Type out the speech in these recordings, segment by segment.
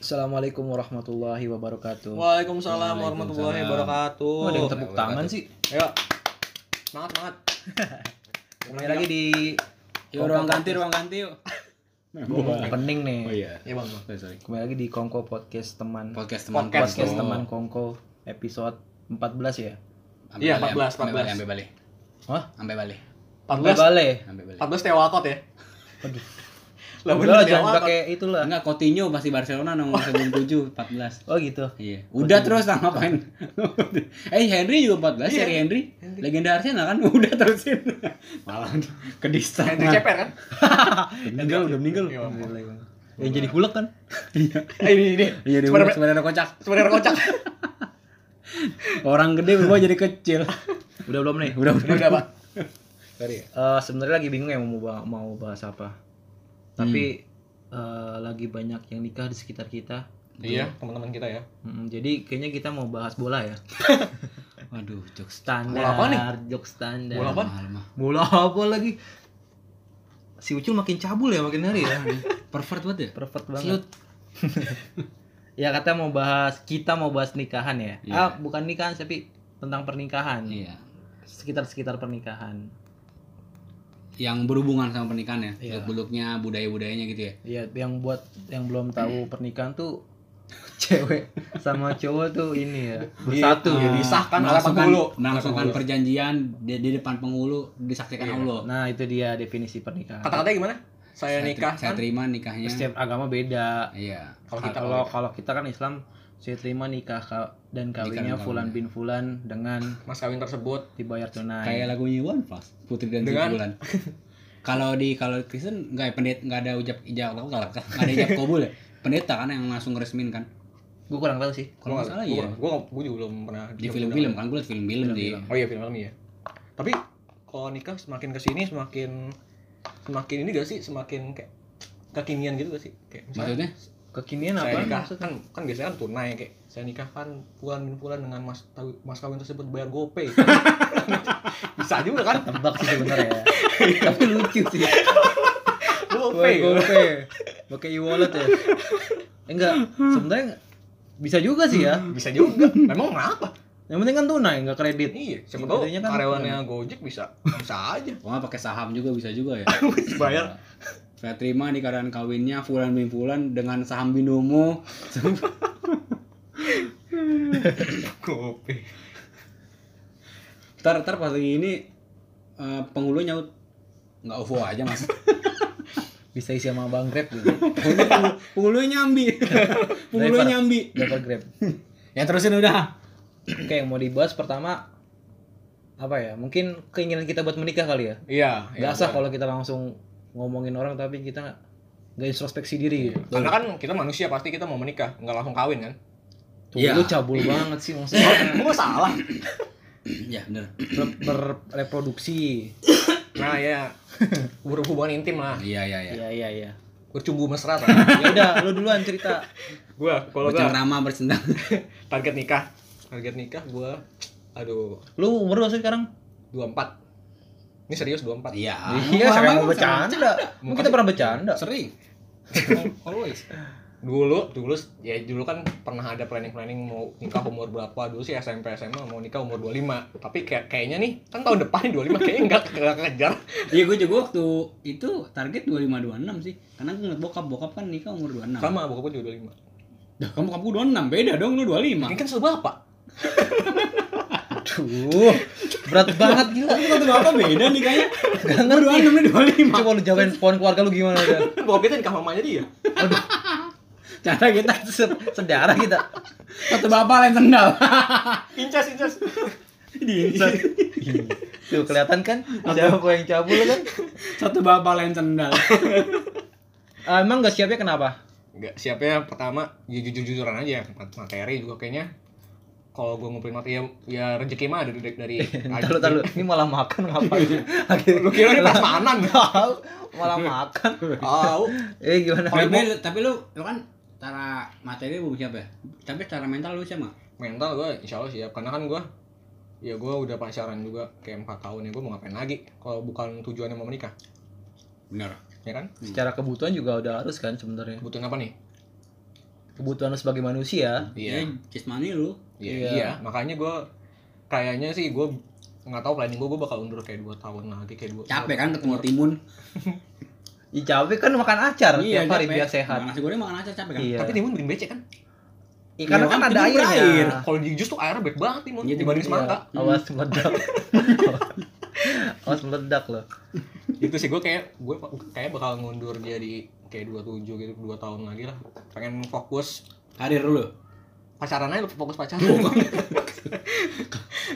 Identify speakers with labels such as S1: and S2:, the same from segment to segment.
S1: Assalamualaikum warahmatullahi wabarakatuh.
S2: Waalaikumsalam warahmatullahi wabarakatuh.
S1: Oh, ada yang tepuk tangan sih.
S2: Ayo. Semangat, semangat.
S1: Kembali lagi di
S2: Yuk, ruang ganti, ruang ganti yuk.
S1: pening nih.
S3: Nah, Oh iya.
S2: Iya, Bang. Bang.
S3: Sorry, sorry.
S1: Kembali lagi di Kongko Podcast teman.
S3: Podcast Oh. teman
S2: Podcast
S1: Podcast
S3: Kongko.
S1: teman Kongko episode 14 ya.
S3: Ambil
S2: Iya,
S3: balik,
S2: 14,
S3: ambil
S2: 14.
S3: balik, Ambil balik.
S1: Hah?
S3: Ambil balik.
S2: 14
S1: Bale.
S3: Ambil balik.
S2: 14 tewa kot ya.
S1: Aduh.
S2: Lah
S1: Udah
S2: bener
S1: lah, jangan
S2: tewa kot.
S1: pakai itulah.
S3: Enggak Coutinho masih Barcelona nomor 97 14.
S1: Oh gitu.
S3: Iya. Udah terus lah ngapain? eh Henry juga
S2: Iya.
S3: 14 seri Henry. Legenda Arsenal kan udah terusin. Malah ke distan.
S2: Henry Ceper kan?
S3: Meninggal udah meninggal.
S2: Iya, Bang.
S1: Yang jadi hulek kan?
S2: Eh, ini ini.
S3: Iya, dia
S2: Sebenarnya-
S3: sebenarnya kocak.
S2: Sebenarnya kocak.
S3: Orang gede berubah jadi kecil.
S1: Udah belum nih?
S3: Udah
S2: Udah udah, Pak.
S3: Sorry. ya.
S1: Eh, sebenarnya lagi bingung ya mau ba- mau bahas apa. Tapi eh, lagi banyak yang nikah di sekitar kita.
S2: Iya, teman-teman kita ya.
S3: Nah.
S1: Mm, jadi kayaknya kita mau bahas bola ya.
S3: Waduh, jokes.
S1: Standar.
S2: Bola apa nih?
S1: Jok standar.
S2: Bola apa?
S3: Mahal mah.
S1: Bola apa lagi? Si Ucul makin cabul ya makin hari
S2: Iya,
S1: ya.
S3: Pervert banget ya?
S1: Perfect
S3: Slut.
S1: Ya kata mau bahas kita mau bahas nikahan ya.
S3: Iya.
S1: Ah, bukan nikahan tapi tentang pernikahan.
S3: Iya.
S1: Sekitar-sekitar pernikahan.
S3: Yang berhubungan sama pernikahan ya.
S1: Iya.
S3: Beluk-beluknya, budaya-budayanya gitu ya.
S1: Iya, yang buat yang belum
S2: Iya.
S1: tahu pernikahan tuh cewek sama cowok tuh ini ya. Bersatu.
S2: Iya, disahkan oleh
S3: melangsungkan-
S2: penghulu.
S3: melangsungkan
S2: Oleh penghulu.
S3: perjanjian di, di depan penghulu disaksikan Allah
S1: Nah, itu dia definisi pernikahan.
S2: Kata-katanya gimana? Saya nikah kan.
S3: saya terima nikahnya
S1: Setiap agama beda.
S3: iya
S2: Kalau kita
S1: kalau kalau kita kan Islam saya terima nikah ka- dan kawinnya
S3: dan
S1: fulan bin fulan dengan
S2: mas kawin tersebut
S1: dibayar
S3: kayak
S1: tunai.
S3: lagunya One Plus Putri dan
S2: Dengan-
S3: Bulan kalau di kalau Kristen nggak ya, pendet nggak ada ujab ijab nggak ada ijab kabul ya pendeta kan yang langsung ngeresmin kan
S1: Gue kurang tahu sih.
S3: kalau nggak salah iya
S2: gue gue juga belum pernah
S3: di film-film kan gue liat film-film di
S2: Oh iya film-film ya. Tapi kalau nikah semakin kesini semakin semakin ini gak sih semakin kayak kekinian gitu gak sih? Kayak misalnya
S3: maksudnya
S1: Kekinian
S2: saya
S1: apa
S2: nikah
S1: maksud?
S2: kan kan biasanya kan tunai kayak saya nikah kan bulan bin bulan dengan mas tahu- mas kawin tersebut bayar gopay. Bisa juga kan?
S1: Tebak sih sebenarnya ya. Tapi lucu sih.
S2: Gopay.
S1: GoPay. Pakai e-wallet ya. Eh, Enggak, sebenarnya bisa juga sih ya.
S2: Bisa juga. Memang kenapa?
S1: Yang penting kan tunai, enggak kredit.
S2: Iya, gitu. siapa tahu
S1: Intinya kan-
S2: karyawannya Gojek bisa bisa aja
S3: Wah pakai saham juga bisa juga ya.
S2: Bayar.
S3: Saya terima di keadaan kawinnya Fulan bin Fulan dengan saham binomo.
S2: gopay.
S3: Ntar, ntar pas lagi ini eh, penghulu nyaut nggak UFO aja mas.
S1: Bisa isi sama Bang Grab gitu.
S3: Penghulu- penghulu nyambi, penghulu
S1: Driver.
S3: nyambi.
S1: Dapat Grab.
S3: Ya terusin udah.
S1: Oke, yang mau dibahas pertama apa ya? Mungkin keinginan kita buat menikah kali ya.
S2: Iya, iya,
S1: Gak sah
S2: benar.
S1: kalau kita langsung ngomongin orang tapi kita nggak introspeksi diri gitu.
S2: karena kan kita manusia pasti kita mau menikah, nggak langsung kawin kan?
S1: Tuh,
S3: Iya.
S1: lu cabul banget sih maksudnya.
S2: Gue Oh, salah.
S3: Ya bener.
S1: Ber- Berreproduksi.
S2: Nah ya berhubungan intim lah,
S3: Iya iya iya.
S1: Iya iya iya.
S2: bercumbu mesra. Kan?
S1: Ya udah, lu duluan cerita.
S2: gua kalau
S3: Bocah
S2: gua
S3: ramah bersendang.
S2: target nikah, target nikah gua aduh
S1: Lu umur lu sekarang?
S2: 24. Ini serius 24.
S1: Iya,
S3: Iya. Ramah,
S1: saya mau
S3: bersendang.
S1: bercanda. Emang kita pernah bercanda?
S2: Ya.
S3: Sering. Always.
S2: Dulu dulu ya dulu kan pernah ada planning-planning mau nikah umur berapa dulu sih SMP SMA mau nikah umur 25. Tapi kayak kayaknya nih kan tahun depan 25 kayaknya enggak kekejar.
S3: Iya gue juga waktu itu target 2526 sih. Karena gue ngeliat bokap bokap kan nikah umur 26.
S2: Sama bokap gua juga 25.
S3: Dah, kamu kamu 26, beda dong lu 25.
S2: Ini kan sebapak. bapak.
S1: Aduh, berat banget gila.
S3: Tapi satu bapak beda nih kayaknya.
S1: Gak ngerti.
S3: 26 nih 25.
S1: Coba lu jawabin pohon keluarga lu gimana kan?
S2: Bokap kita nikah mamanya dia.
S3: Cara kita
S1: Se- Sedara kita.
S3: satu bapak lain sendal.
S2: Incas incas.
S3: Di
S1: Tuh kelihatan kan Iya. siapa yang cabul kan?
S3: satu bapak lain sendal.
S1: Ah, emang gak siapnya kenapa?
S2: Enggak, siapnya pertama ya jujur-jujuran aja mat- materi juga kayaknya kalau gue ngumpulin materi ya, ya rezeki mah ada dari dari
S1: Entar lu, entar lu. Ini malah makan ngapain? Akhirnya
S2: Lu kira ini prasmanan
S1: tahu malah makan.
S2: tahu
S1: Eh gimana?
S3: tapi, tapi lu lu kan cara materi lu siapa ya? Tapi cara mental lu siapa?
S2: mental gue insya Allah siap karena kan gue ya gue udah pacaran juga kayak empat tahun ya gue mau ngapain lagi kalau bukan tujuannya mau menikah
S3: Bener.
S2: ya kan
S1: Secara kebutuhan juga udah harus kan sebenarnya.
S2: kebutuhan apa nih
S1: kebutuhan lu sebagai manusia
S2: Iya.
S3: Ya, jasmani lu.
S2: Iya,
S1: Iya.
S2: iya. makanya gue kayaknya sih gue nggak tahu planning gue gue bakal undur kayak dua tahun lagi kayak dua
S3: Capek kan ketemu timun.
S1: ya capek kan makan acar tiap hari
S3: Iya, capek.
S1: biar sehat
S3: Makan Nasi goreng makan aja capek kan.
S1: iya
S2: tapi timun bikin becek kan
S1: Ya, karena
S3: Iya,
S1: kan
S3: kan
S1: ada
S3: timun
S1: airnya
S3: berair.
S2: kalau di jus tuh airnya baik banget timun
S3: Iya,
S2: dibanding
S1: Iya,
S2: semangka
S1: awas meledak awas meledak loh
S2: itu Gitu sih gue kayak gue kayak bakal ngundur jadi kayak dua tujuh gitu dua tahun lagi lah pengen fokus
S3: Karir lu.
S2: pacaran aja fokus pacaran
S1: Iya.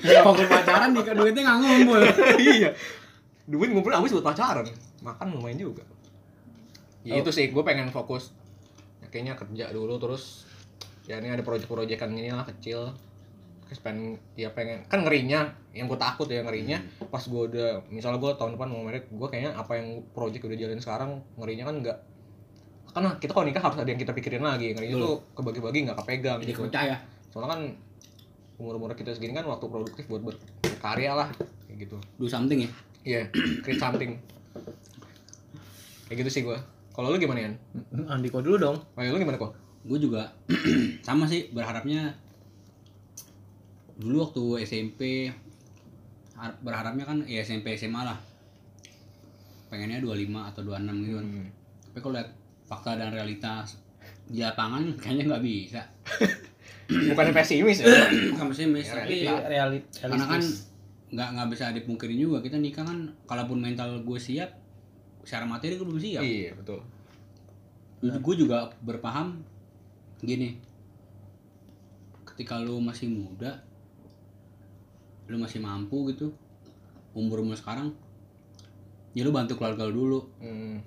S3: Ya fokus pacaran nih duitnya enggak ngumpul.
S2: iya duit ngumpul habis buat pacaran makan lumayan juga ya,
S1: Oh.
S2: itu sih gue pengen fokus Ya, kayaknya kerja dulu terus ya ini ada proyek-proyekan ini lah kecil terus pengen ya pengen kan ngerinya yang gue takut ya
S1: Iya.
S2: ngerinya
S3: Hmm.
S2: pas gue udah misalnya gue tahun depan mau merit gue kayaknya apa yang proyek udah jalan sekarang ngerinya kan nggak karena kita kalau nikah harus ada yang kita pikirin lagi ngerinya
S3: Betul.
S2: tuh kebagi-bagi nggak kepegang
S3: Jadi
S2: gitu
S3: kocak ya.
S2: soalnya kan umur-umur kita segini kan waktu produktif buat ber- berkarya lah kayak gitu
S3: Do something ya.
S2: Iya, create something. Kayak gitu sih gua. Kalau lu gimana, Yan?
S1: Andiko dulu dong
S2: Oh, ya, lu gimana kok?
S3: Gue juga sama sih berharapnya dulu waktu SMP har- berharapnya kan ya SMP SMA lah. Pengennya 25 atau 26 gitu kan. Tapi kalau lihat fakta dan realitas di lapangan kayaknya nggak bisa.
S2: Bukannya pesimis ya?
S3: Sama sih Miss,
S2: Ya,
S3: tapi
S2: realita.
S1: realit
S3: Iya. karena kan
S1: realistis
S3: nggak nggak bisa dipungkiri juga kita nikah kan kalaupun mental gue siap secara materi gue belum siap
S2: iya, betul.
S3: gue juga berpaham gini ketika lu masih muda lu masih mampu gitu umur umur sekarang ya lu bantu keluarga lu dulu
S2: Hmm.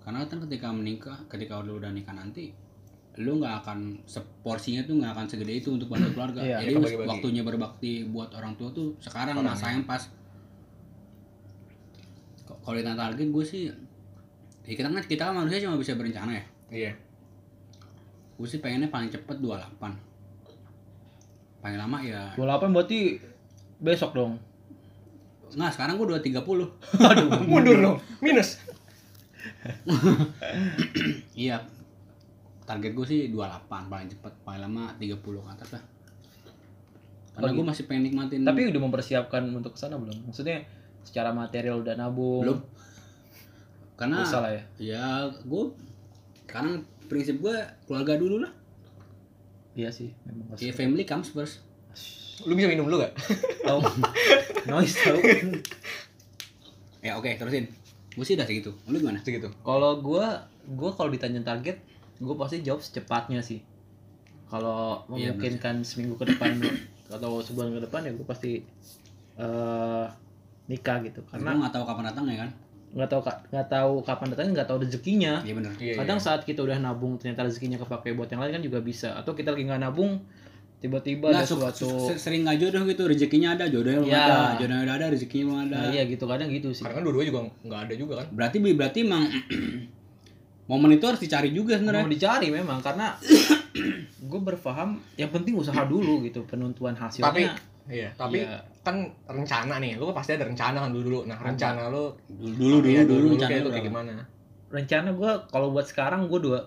S3: karena kan ketika menikah ketika lu udah nikah nanti lu nggak akan seporsinya tuh nggak akan segede itu untuk bantu keluarga
S1: Iya,
S2: ya,
S3: jadi
S2: kebagi-bagi.
S3: waktunya berbakti buat orang tua tuh sekarang
S2: Sekarang,
S3: masa yang pas K- kalau ditanya target gue sih ya kita kan kita kan manusia cuma bisa berencana ya
S2: Iya.
S3: gue sih pengennya paling cepet 28 paling lama ya
S1: 28 berarti besok dong
S3: nah sekarang gue 230
S1: aduh
S2: Mundur dong. Minus.
S3: Iya. Target gue sih 28 paling cepat, paling lama 30 ke atas lah. Karena
S1: Oh,
S3: gue masih pengen nikmatin.
S1: tapi udah mempersiapkan untuk kesana belum maksudnya secara material udah nabung
S3: belum. Karena
S1: usah lah ya
S3: ya gue sekarang prinsip gue keluarga dulu lah.
S1: iya sih memang
S3: Ya, family comes first.
S2: Lu bisa minum dulu gak?
S1: tahu noise tahu
S3: Ya oke, terusin. Gue sih udah segitu. Lu gimana?
S2: Segitu.
S1: kalau gua gua kalau ditanya target gua pasti jawab secepatnya sih kalau
S3: Iya,
S1: memungkinkan seminggu ke depan atau sebulan ke depan ya gua pasti eh nikah gitu
S3: Karena
S1: karena
S3: gue nggak tahu kapan datang ya kan.
S1: nggak tahu ka- nggak tahu kapan datangnya nggak tahu rezekinya
S3: Iya bener.
S2: Iya,
S1: kadang
S2: iya.
S1: saat kita udah nabung ternyata rezekinya kepake buat yang lain kan juga bisa atau kita lagi nggak nabung tiba-tiba ada
S3: Nggak suka
S1: suatu
S3: sering nggak jodoh gitu rezekinya ada jodohnya belum
S1: Ya.
S3: ada jodohnya udah ada rezekinya belum ada.
S1: nah, iya gitu kadang gitu sih
S2: Karena kan dua-dua juga nggak ada juga kan?
S3: Berarti berarti emang momen itu harus dicari juga
S1: mau
S3: sebenarnya.
S1: dicari memang karena gue berpaham yang penting usaha dulu gitu penentuan hasilnya
S2: Tapi- Iya. Tapi
S1: Iya.
S2: kan rencana nih, lu pasti ada rencana kan dulu-dulu. Nah, rencana lu
S3: Dulu dulu
S2: Iya,
S3: dulu,
S2: kayak
S3: rencananya
S2: lu kayak
S3: berapa?
S2: gimana?
S1: rencana gue kalau buat sekarang gue dua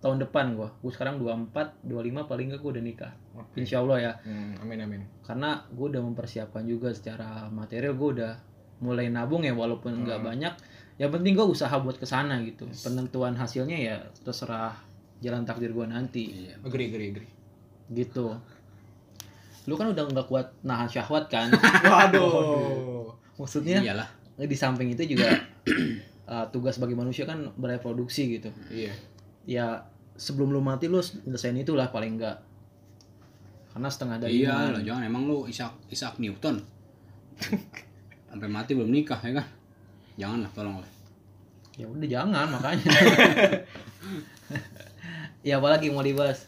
S1: tahun depan gue gue sekarang 24 25 paling nggak gue udah nikah
S2: Oke.
S1: insya Allah ya
S2: Hmm, amin amin.
S1: karena gue udah mempersiapkan juga secara material gue udah mulai nabung ya walaupun nggak
S2: Hmm.
S1: banyak yang penting gue usaha buat kesana gitu penentuan hasilnya ya terserah jalan takdir gue nanti
S3: Iya.
S2: Agree agree agree.
S1: gitu lu kan udah nggak kuat nahan syahwat kan
S2: Waduh.
S1: maksudnya
S3: Iyalah.
S1: di samping itu juga eh, tugas bagi manusia kan bereproduksi gitu
S2: Iya.
S1: ya sebelum lu mati lu nyelesain itulah paling enggak karena setengah dari
S3: Iya
S1: iman.
S3: lah, jangan emang lu Isaac Isaac Newton. Sampai mati belum nikah ya kan? Jangan lah, tolong lah.
S1: ya udah jangan makanya ya apalagi mau dibahas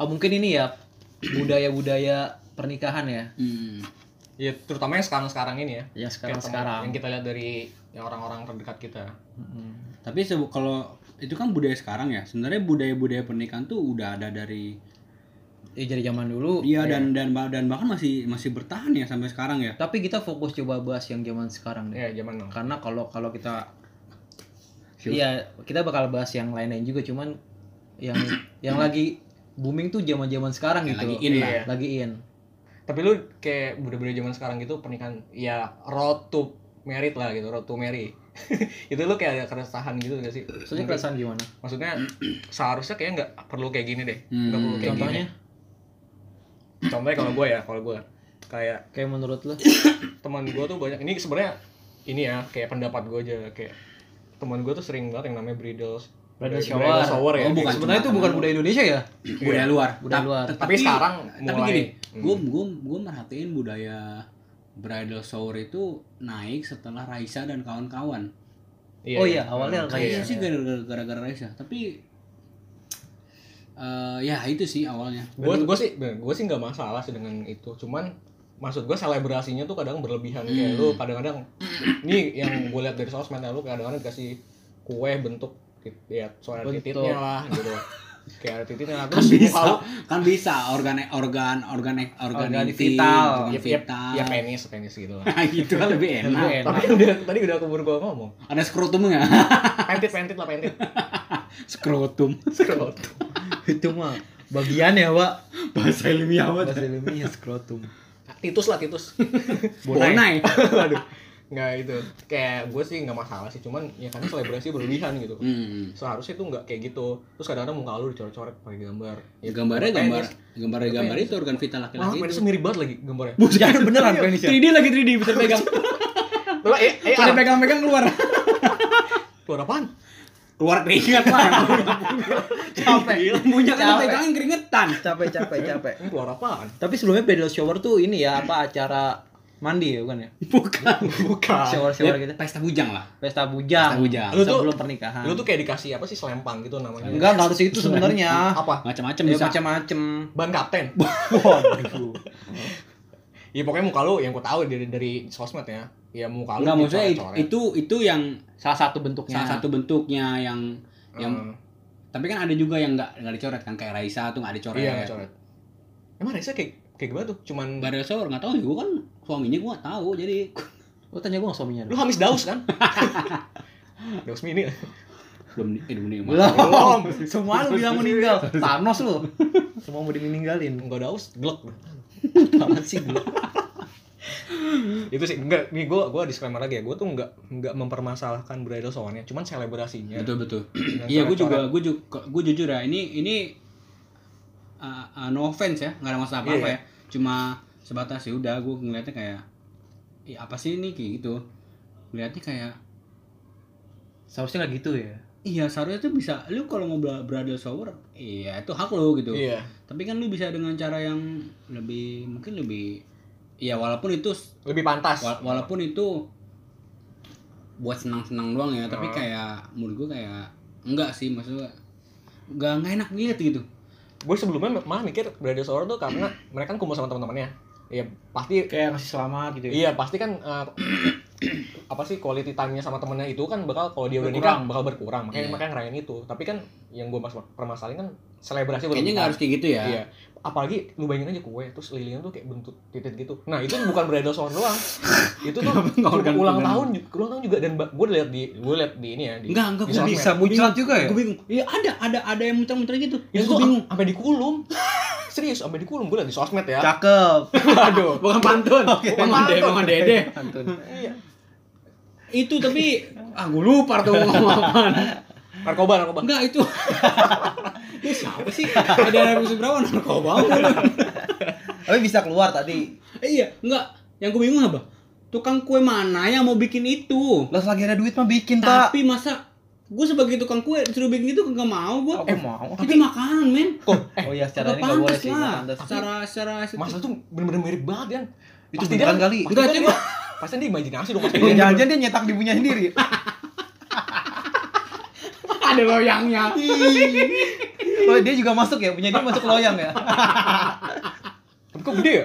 S1: oh, mungkin ini ya budaya budaya pernikahan ya
S3: Hmm.
S2: Iya, terutama yang sekarang-sekarang ini
S1: yang
S2: ya. Kayak
S1: sekarang
S2: teman-
S1: sekarang
S2: Yang kita lihat dari ya, orang-orang terdekat kita.
S3: Tapi se- kalau itu kan budaya sekarang ya. Sebenarnya budaya-budaya pernikahan tuh udah ada dari
S1: ya jadi zaman dulu
S3: Iya dan dan ba- dan bahkan masih masih bertahan ya sampai sekarang ya.
S1: tapi kita fokus coba bahas yang zaman sekarang deh
S2: Iya, zaman now.
S1: karena kalau kalau kita
S3: Sure. Iya,
S1: Iya, kita bakal bahas yang lain-lain juga, cuman yang yang lagi booming tuh zaman-zaman sekarang
S3: Yang
S1: gitu.
S3: lagi in lah.
S2: Iya.
S1: Lagi in.
S2: Tapi lu kayak budak-budak zaman sekarang gitu pernikahan ya road to married lah gitu, road to marry. itu lu kayak ada keresahan gitu gak sih?
S1: Soalnya
S2: Mungkin-
S1: perasaan gimana?
S2: Maksudnya seharusnya kayak nggak perlu kayak gini deh.
S3: Hmm.
S2: Nggak perlu kayak
S1: Contohnya
S2: gini. Contohnya kalau gue ya, kalau gue kayak
S1: kayak menurut lo?
S2: teman gue tuh banyak ini sebenarnya ini ya kayak pendapat gue aja kayak teman gue tuh sering banget yang namanya bridal
S1: Bridal shower.
S2: shower ya.
S3: Oh, bukan.
S1: Sebenarnya itu bukan budaya Indonesia ya?
S3: budaya luar
S1: Budaya
S3: Ta-
S1: luar.
S2: Tapi sekarang
S3: tapi
S2: mulai-
S3: gini
S2: Hmm.
S3: gue gue gue merhatiin budaya bridal shower itu naik setelah Raisa dan kawan-kawan
S1: Oh iya, awalnya
S2: Hmm,
S1: kayak-
S2: iya.
S3: kayaknya sih gara-gara gara-gara Raisa tapi eh ya itu sih awalnya
S2: gue gue sih gue sih nggak masalah sih dengan itu cuman maksud gue selebrasinya tuh kadang berlebihan kayak
S3: Hmm.
S2: lu kadang-kadang ini yang gue lihat dari sosmed ya, lu kadang-kadang dikasih kue bentuk tit- ya soal ada
S1: Bentuk.
S2: titiknya lah gitu kayak ada titiknya lah. terus muka lu ya,
S3: bisa kan bisa organ organ organ organ,
S1: Organ
S3: intim,
S1: vital.
S2: ya,
S3: organ
S2: ya,
S3: kan, vital
S2: ya penis penis gitu lah
S3: gitu kan lebih
S1: Lebih
S3: enak
S1: enak.
S2: tapi udah tadi udah keburu gue ngomong
S3: ada skrotum nggak
S2: pentit pentit lah pentit Nah,
S3: skrotum
S2: Skrotum.
S1: itu mah bagian ya, Pak.
S3: bahasa ilmiah banget
S1: Bahasa ilmiahnya skrotum.
S2: titus lah titus
S3: bonai
S2: aduh nggak itu kayak gue sih nggak masalah sih cuman ya karena selebrasi berlebihan gitu
S3: Hmm.
S2: seharusnya tuh nggak kayak gitu terus kadang-kadang muka lu dicoret-coret pakai gambar
S3: Ya, gambarnya gambar
S2: Penis.
S3: gambar gambar itu organ vital
S2: Wah,
S3: laki-laki itu. Iya.
S2: penisnya mirip banget lagi gambarnya
S1: Oh,
S3: Buset,
S1: Iya, beneran penisnya.
S3: 3D lagi 3D bisa pegang.
S2: Loh, eh,
S1: Iya.
S2: eh,
S3: Bisa
S2: ah,
S3: pegang-pegang keluar.
S2: keluar apaan?
S3: Keluar keringat lah. Capek. Punya kan
S1: Capek.
S3: pegangin keringetan.
S1: Capek, capek, capek.
S2: Ini Eh, keluar apaan?
S1: Tapi sebelumnya bridal shower tuh ini ya apa acara mandi ya bukan ya?
S3: Bukan.
S2: Bukan.
S1: Shower shower
S3: Ya,
S1: gitu.
S3: Pesta bujang lah.
S1: Pesta bujang.
S3: Pesta bujang.
S1: Lu tuh-
S2: Sebelum
S1: sebelum pernikahan.
S2: Lu tuh kayak dikasih apa sih selempang gitu namanya?
S1: enggak enggak harus itu sebenarnya.
S2: Apa?
S3: Macam-macam
S1: Ya
S3: bisa.
S1: macam-macam.
S2: Ban kapten.
S1: Waduh.
S2: Ya pokoknya muka lu yang gue tahu dari dari sosmed ya. Ya muka lu
S3: Enggak maksudnya it-
S2: dicoret-coret.
S3: itu itu yang
S1: Salah satu
S2: Ya.
S1: bentuknya.
S3: salah satu bentuknya yang yang
S2: Hmm.
S3: tapi kan ada juga yang enggak enggak dicoret kan kayak Raisa tuh enggak dicoret.
S2: iya nggak coret. Emang Reza kayak kayak gimana tuh? Cuman
S3: Baru sore enggak tahu ya gua kan suaminya gua enggak tahu jadi
S1: Lu tanya gua sama suaminya
S2: lu
S1: dong.
S2: hamis daus kan? daus mini.
S3: belum di- eh, belum di-
S1: Belum. Semua lu bilang meninggal. Thanos lu. Semua mau dininggalin.
S2: Enggak daus, glek.
S1: Banget sih gua.
S2: itu sih enggak nih gue gue disclaimer lagi ya gue tuh enggak enggak mempermasalahkan bridal showernya cuman selebrasinya
S3: Betul betul.
S2: Dengan
S3: Iya, gue
S2: coret-coret.
S3: juga, gue juga, gue jujur ya, ini ini uh, uh, no offense ya, nggak ada masalah apa apa
S2: Iya, iya.
S3: ya. Cuma sebatas ya udah, gue ngeliatnya kayak, "Ih, apa sih ini kayak gitu? Ngeliatnya kayak,
S1: Seharusnya nggak gitu ya.
S3: iya seharusnya tuh bisa, lu kalau mau bra- bridal shower, iya itu hak lu gitu.
S2: iya
S3: Tapi kan lu bisa dengan cara yang lebih, mungkin lebih, ya walaupun itu,
S2: lebih pantas
S3: wa- walaupun itu buat senang-senang doang ya, tapi
S2: Nah.
S3: kayak menurut gue kayak enggak sih maksudnya, nggak nggak enak dilihat gitu.
S2: gue sebelumnya malah mikir bridal shower tuh karena mereka kan kumpul sama teman-temannya ya pasti
S1: Kayak ngasih selamat gitu
S2: iya pasti kan eh, apa sih quality time-nya sama temennya itu kan bakal kalau dia udah
S1: Berkurang.
S2: nikah bakal berkurang makanya
S3: Iya.
S2: makanya ngerayain itu tapi kan yang gue mas permasalahin kan selebrasi
S3: Kayaknya nggak harus kayak gitu ya.
S2: iya apalagi lu bayangin aja kue terus lilinnya tuh kayak bentuk titik gitu nah itu bukan bridal shower doang itu tuh
S3: Nggak organ-
S2: ulang
S3: organ.
S2: tahun ju- ulang tahun juga dan gue lihat di gue lihat di ini ya di
S3: Enggak, enggak
S2: Di
S3: gue
S2: sosmed.
S3: bisa.
S1: muncrat juga ya?
S3: Gue bingung. Iya ada ada ada yang muter-muter
S2: itu
S3: gitu.
S2: tuh
S3: Yang gue bingung.
S2: Ya, sampai dikulum serius sampai dikulum gue lihat di sosmed ya
S1: Cakep.
S2: aduh
S3: Bukan pantun.
S2: Bukan pantun.
S3: dede.
S1: Pantun.
S2: Iya.
S3: Itu tapi ah gue lupa tuh ngomong apaan.
S2: Narkoba, narkoba.
S3: Enggak itu. Ini siapa sih? Ada musim berapa narkoba? mulu.
S1: Tapi bisa keluar tadi.
S3: Eh, Iya, enggak. Yang gue bingung apa? Tukang kue mana yang mau bikin itu?
S1: Lo lagi ada duit mah bikin, Pak.
S3: Tapi masa gue sebagai tukang kue disuruh bikin itu kagak mau gue.
S1: Aku mau.
S3: Tapi makanan men.
S1: Oh iya, secara
S3: Kagak
S1: ini enggak boleh
S3: pantas
S1: sih, nggak
S3: lah.
S1: Eh, pantas.
S3: Secara secara
S2: Masa tuh bener-bener mirip banget, Yan.
S1: Itu Iya.
S2: Pasti
S1: beneran
S2: dia-
S1: kali.
S2: pasti
S3: Enggak,
S2: dia-
S3: coba.
S2: Pasti dia imajinasi dong. Pasti dia.
S1: Jangan-jangan dia nyetak di punya sendiri.
S3: ada loyangnya.
S1: Oh, dia juga masuk ya, punya dia masuk loyang ya.
S2: Tapi kok gede ya?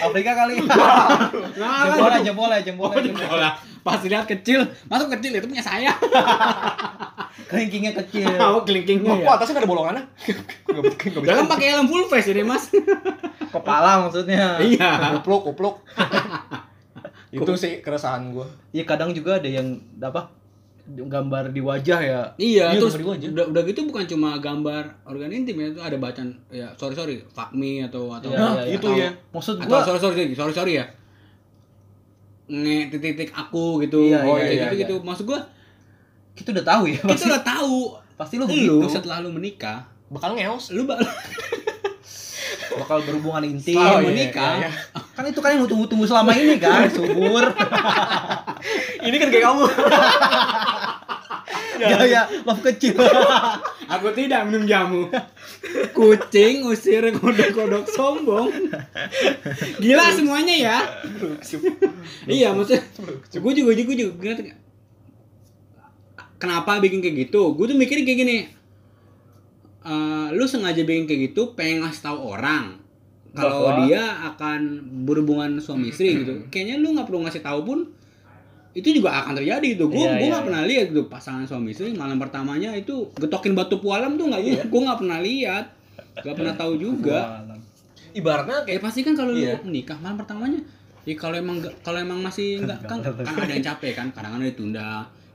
S1: Afrika kali.
S3: Nah,
S1: Jempolnya, jempolnya, jempolnya. jempolnya.
S3: bola. Pas lihat kecil, masuk kecil itu punya saya.
S1: Kelingkingnya kecil.
S3: Tahu kelingkingnya
S2: Kok atasnya nggak ada bolongannya? Nggak bisa- nggak bisa.
S3: Iya, Dalam pakai helm full face ini, Mas.
S1: Kepala maksudnya.
S3: Iya.
S2: Kuplok, kuplok. Itu sih keresahan gue.
S1: Iya, kadang juga ada yang apa? gambar di wajah ya
S3: Iya,
S1: Iya, gambar
S3: terus
S1: di wajah.
S3: udah, udah gitu bukan cuma gambar organ intim ya, itu ada bacaan ya sorry sorry, fuck me atau atau
S1: Iya,
S3: atau-
S1: iya,
S2: itu ya.
S1: maksud
S3: Atau
S1: gua
S3: sorry sorry sorry sorry ya. Nge titik titik aku gitu.
S1: Iya,
S3: oh,
S2: iya, iya,
S3: gitu gitu. Maksud gua
S1: kita udah tahu ya
S3: kita
S1: pasti,
S3: udah tahu
S1: pasti lu
S3: lu
S1: begitu
S3: setelah lu menikah,
S2: bakal ngeos
S3: lu bakal
S1: bakal berhubungan intim
S3: Setelah
S2: iya,
S3: menikah.
S2: iya,
S1: kan itu kan yang lu tunggu-tunggu selama ini kan subur
S2: ini kan kayak kamu Iya,
S1: ya ya love kecil
S3: Aku tidak minum jamu. Kucing usir kodok-kodok sombong. Gila semuanya ya. iya maksudnya. Gue juga gue juga gue juga- Kenapa bikin kayak gitu? Gue tuh mikirnya kayak gini. Eh, lu sengaja bikin kayak gitu pengen ngasih tahu orang kalau
S1: Bahwa- Hmm.
S3: dia akan berhubungan suami istri gitu. Kayaknya lu nggak perlu ngasih tahu pun itu juga akan terjadi gitu. Gue
S1: Iya,
S3: gue
S1: iya,
S3: nggak
S1: iya.
S3: pernah lihat gitu pasangan suami istri malam pertamanya itu getokin batu pualam tuh nggak
S1: Iya.
S3: gue gue nggak pernah lihat, nggak pernah tahu juga.
S2: ibaratnya
S3: Ya
S2: kayak
S3: pasti kan kalau
S2: Iya.
S3: lu menikah malam pertamanya, ya kalau emang nggak- kalau emang masih nggak kan,
S1: Nggak
S3: kan ada yang capek kan, kadang-kadang ditunda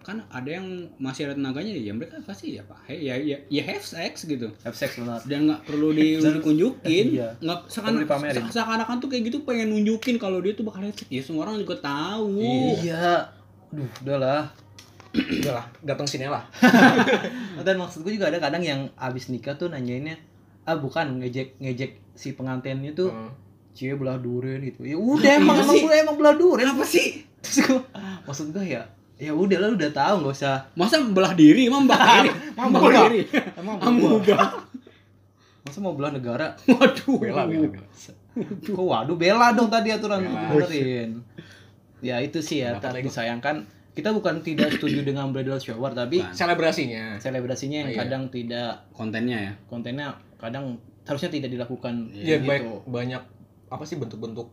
S3: kan ada yang masih ada tenaganya ya mereka pasti ya pak ya ya ya have sex gitu
S1: have sex benar
S3: dan nggak perlu di-
S1: Dan-
S3: dikunjukin
S1: Iya.
S3: nggak
S1: Perlu
S3: seakan
S1: dipamerin.
S3: se- seakan-akan tuh kayak gitu pengen nunjukin kalau dia tuh bakal headset ya semua orang juga tahu
S1: iya Duh, udahlah.
S2: udahlah datang sini lah
S1: Dan maksud gue juga ada kadang yang abis nikah tuh nanyainnya, ah bukan ngejek ngejek si pengantinnya tuh,
S2: Hmm.
S1: cie belah duren gitu. Ya udah
S2: Iya
S3: Apa
S1: emang emang
S3: sih?
S1: gue emang belah duren.
S3: kenapa sih
S1: Terus gue, maksud gue ya, ya udah lah lu udah tahu nggak usah.
S3: masa belah diri emang belah diri
S1: Emang
S3: Emang
S1: belah.
S3: diri
S1: Emang
S3: Emang
S1: gue,
S3: belah.
S1: masa mau belah negara?
S3: waduh
S2: bela bela bela
S1: Kok waduh bela dong tadi aturan
S2: Bela.
S1: benerin. Ya itu sih ya,
S2: Dapat
S1: tak
S2: lagi.
S1: disayangkan. Kita bukan tidak setuju dengan bridal shower, tapi
S3: Bukan.
S2: selebrasinya
S1: selebrasinya yang
S2: Oh, Nah. iya.
S1: kadang tidak
S3: kontennya ya
S1: kontennya kadang harusnya tidak dilakukan
S2: ya,
S1: gitu.
S2: baik banyak apa sih bentuk-bentuk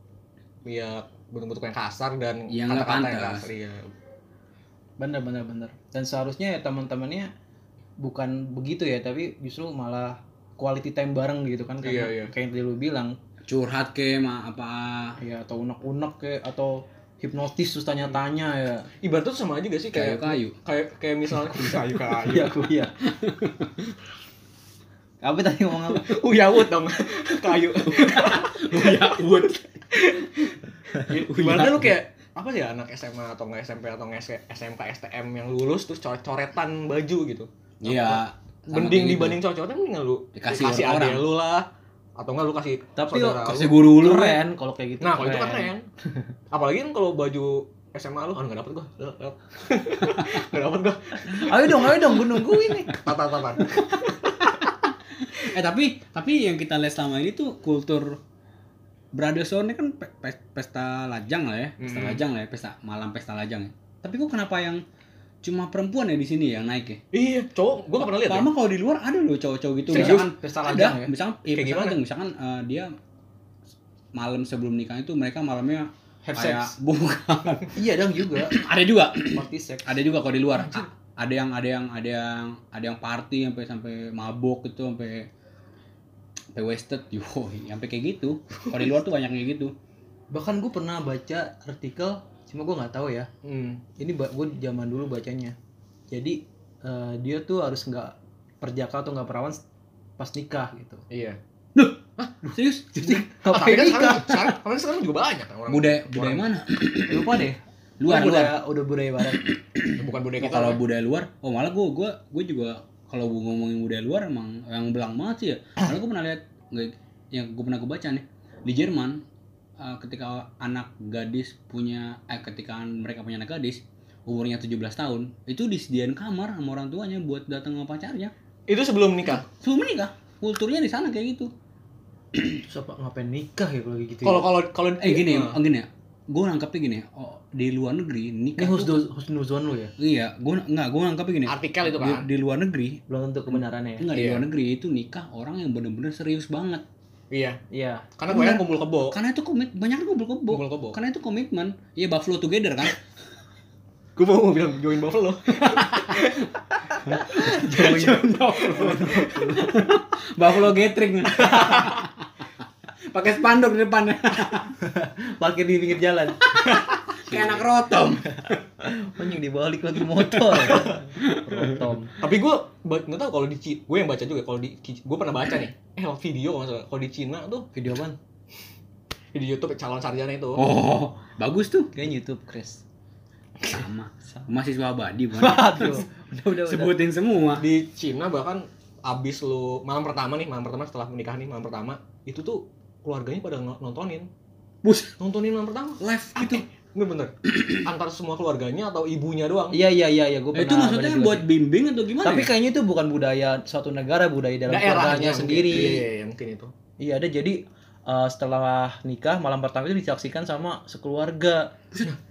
S2: ya bentuk-bentuk yang kasar dan
S3: Yang nggak
S2: kata-kata
S3: pantas.
S2: kasar, iya.
S1: Bener bener bener. Dan seharusnya ya teman-temannya bukan begitu ya, tapi justru malah quality time bareng gitu kan kayak
S2: Iya, iya.
S1: kayak yang tadi lu bilang
S3: curhat ke ma apa
S1: ya atau unek-unek kayak atau hipnotis terus tanya-tanya ya.
S2: ibarat tuh sama aja gak sih kayak
S3: kayu kayu
S2: kayak kayak misalnya kayu kayu
S1: Iya, aku iya. apa tadi ngomong apa?
S2: uyawut dong kayu
S3: ya wood
S2: ibaratnya lu kayak apa sih ya, anak SMA atau nggak SMP atau nggak S- SMK STM yang lulus terus coret-coretan baju gitu
S3: iya
S2: mending dibanding coret-coretan mending lu
S3: Dikasih
S2: kasih
S3: orang.
S2: adek lu lah atau nggak lu kasih
S1: Tapi
S2: saudara
S1: kok
S2: lu.
S3: kasih guru lu
S1: keren kalau kayak gitu.
S2: nah kalau itu kan keren apalagi kan kalau baju SMA lu kan nggak dapet gua Lewat, lewat. nggak dapet gua
S1: Ayo dong, ayo dong, gue nungguin nih.
S2: tata tata
S3: eh tapi tapi yang kita lihat selama ini tuh kultur Brother ini kan pe- pe- pesta lajang lah ya, pesta
S2: Mm.
S3: lajang lah ya, pesta malam pesta lajang ya. Tapi kok kenapa yang cuma perempuan ya di sini yang naik ya?
S2: iya cowok gua nggak pernah lihat ya.
S3: Padahal kalau di luar ada loh cowok-cowok gitu.
S2: Serius?
S3: Misalkan
S1: Pesta
S3: ada,
S1: lajang ya.
S3: misalkan, iya,
S2: Kayak
S3: pesta
S2: gimana?
S3: lajang. misalkan eh, dia malam sebelum nikah itu mereka malamnya
S1: Have
S3: kayak
S1: sex.
S3: bukan.
S1: Iya dong juga,
S3: ada juga,
S1: party sex.
S3: ada juga kalau di luar. A- ada yang ada yang ada yang ada yang party sampai sampai mabok gitu sampai sampai wasted, yo, sampai kayak gitu. Kalau di luar tuh banyak kayak gitu.
S1: Bahkan gue pernah baca artikel, cuma gue nggak tahu ya.
S2: Hmm.
S1: ini gue zaman dulu bacanya jadi eh, dia tuh harus nggak perjaka atau nggak perawan pas nikah gitu
S2: Iya.
S3: Serius?
S1: jadi
S2: Tapi
S1: kapan
S2: kan
S1: nikah
S2: sekarang, sekarang, sekarang, sekarang juga banyak kan orang.
S3: Budaya budaya mana?
S1: lupa deh
S3: Luar,
S1: Gua
S3: luar.
S1: budaya, udah budaya barat
S2: Bukan budaya
S3: Oh,
S2: kita.
S3: kalau
S2: kan.
S3: budaya luar, oh malah gue gue gue juga kalau gue ngomongin budaya luar emang yang belang banget sih ya. Karena gue pernah lihat nggak- yang gue pernah gue baca nih di Jerman eh, ketika anak gadis punya eh ketika mereka punya anak gadis umurnya 17 tahun itu disediain kamar sama orang tuanya buat datang sama pacarnya
S2: itu sebelum nikah.
S3: sebelum menikah kulturnya di sana kayak gitu
S1: terus apa ngapain nikah ya kalau kayak gitu
S2: Kalau kalau kalau
S3: eh gini
S2: Nah,
S3: eh, gini ya gue nangkepnya gini ya oh, di luar negeri
S1: ini
S3: nikah tuh,
S1: husnuzon husnuzon lu ya
S3: iya gue nggak gue nangkepnya gini Iya.
S2: artikel itu
S3: di,
S2: kan.
S3: di luar negeri
S1: belum tentu kebenarannya ya
S3: Enggak di
S2: Iya.
S3: luar negeri itu nikah orang yang bener-bener serius banget.
S2: Iya. Kan
S1: iya
S2: Karena
S3: Bener.
S2: banyak kumpul kebo.
S3: Karena itu komit banyak kumpul kebo.
S2: Kumpul kebo.
S3: Karena itu komitmen. Iya Buffalo together kan.
S2: Gue mau mau bilang join Buffalo. join Buffalo.
S3: Buffalo gathering. Pakai spanduk di depan.
S1: parkir di pinggir jalan
S3: kayak anak rotom
S1: Anjing dibalik lagi motor. Rotom.
S2: Tapi gue nggak tahu kalau di gue yang baca juga kalau di gue pernah baca nih. Eh lewat video kalau nggak salah. kalau di Cina tuh
S1: Video apaan?
S2: di YouTube calon sarjana itu.
S3: oh bagus tuh
S1: Kayaknya YouTube, Chris.
S3: sama mahasiswa abadi bukan
S1: Aduh. Udah udah udah.
S3: Iya, sebutin semua
S2: Di Cina bahkan abis lu malam pertama nih malam pertama setelah menikah nih malam pertama itu tuh keluarganya pada no- nontonin
S3: bus
S2: nontonin malam pertama
S3: live gitu
S2: bener-bener antar semua keluarganya atau ibunya doang
S1: Iya iya iya iya gue
S3: Eh, itu maksudnya buat bimbing atau gimana
S1: Tapi
S3: ya?
S1: kayaknya itu bukan budaya suatu negara, budaya dalam keluarganya
S2: mungkin.
S1: sendiri.
S2: iya, iya, iya, mungkin itu
S1: Iya ada jadi eh, setelah nikah malam pertama itu disaksikan sama sekeluarga.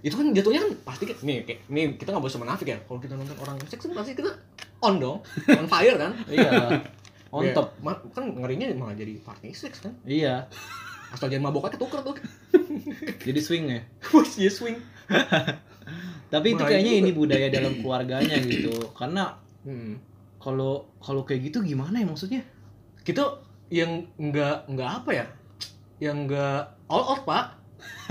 S2: itu kan jatuhnya kan pasti kan nih kayak, nih kita nggak boleh semenafik ya kalau kita nonton orang seks kan pasti kita on dong on fire kan
S1: Iya. On
S2: Ya,
S1: top.
S2: ma- kan ngerinya malah jadi party seks kan
S1: Iya.
S2: asal jangan maboknya ketuker tuh
S1: Jadi swing ya.
S2: wes dia swing
S1: Tapi itu
S2: Wah,
S1: kayaknya
S2: itu-
S1: ini budaya dalam keluarganya gitu. Karena
S2: hmm.
S1: kalau kalau kayak gitu gimana ya maksudnya?
S2: kita yang nggak nggak apa ya yang nggak all out pak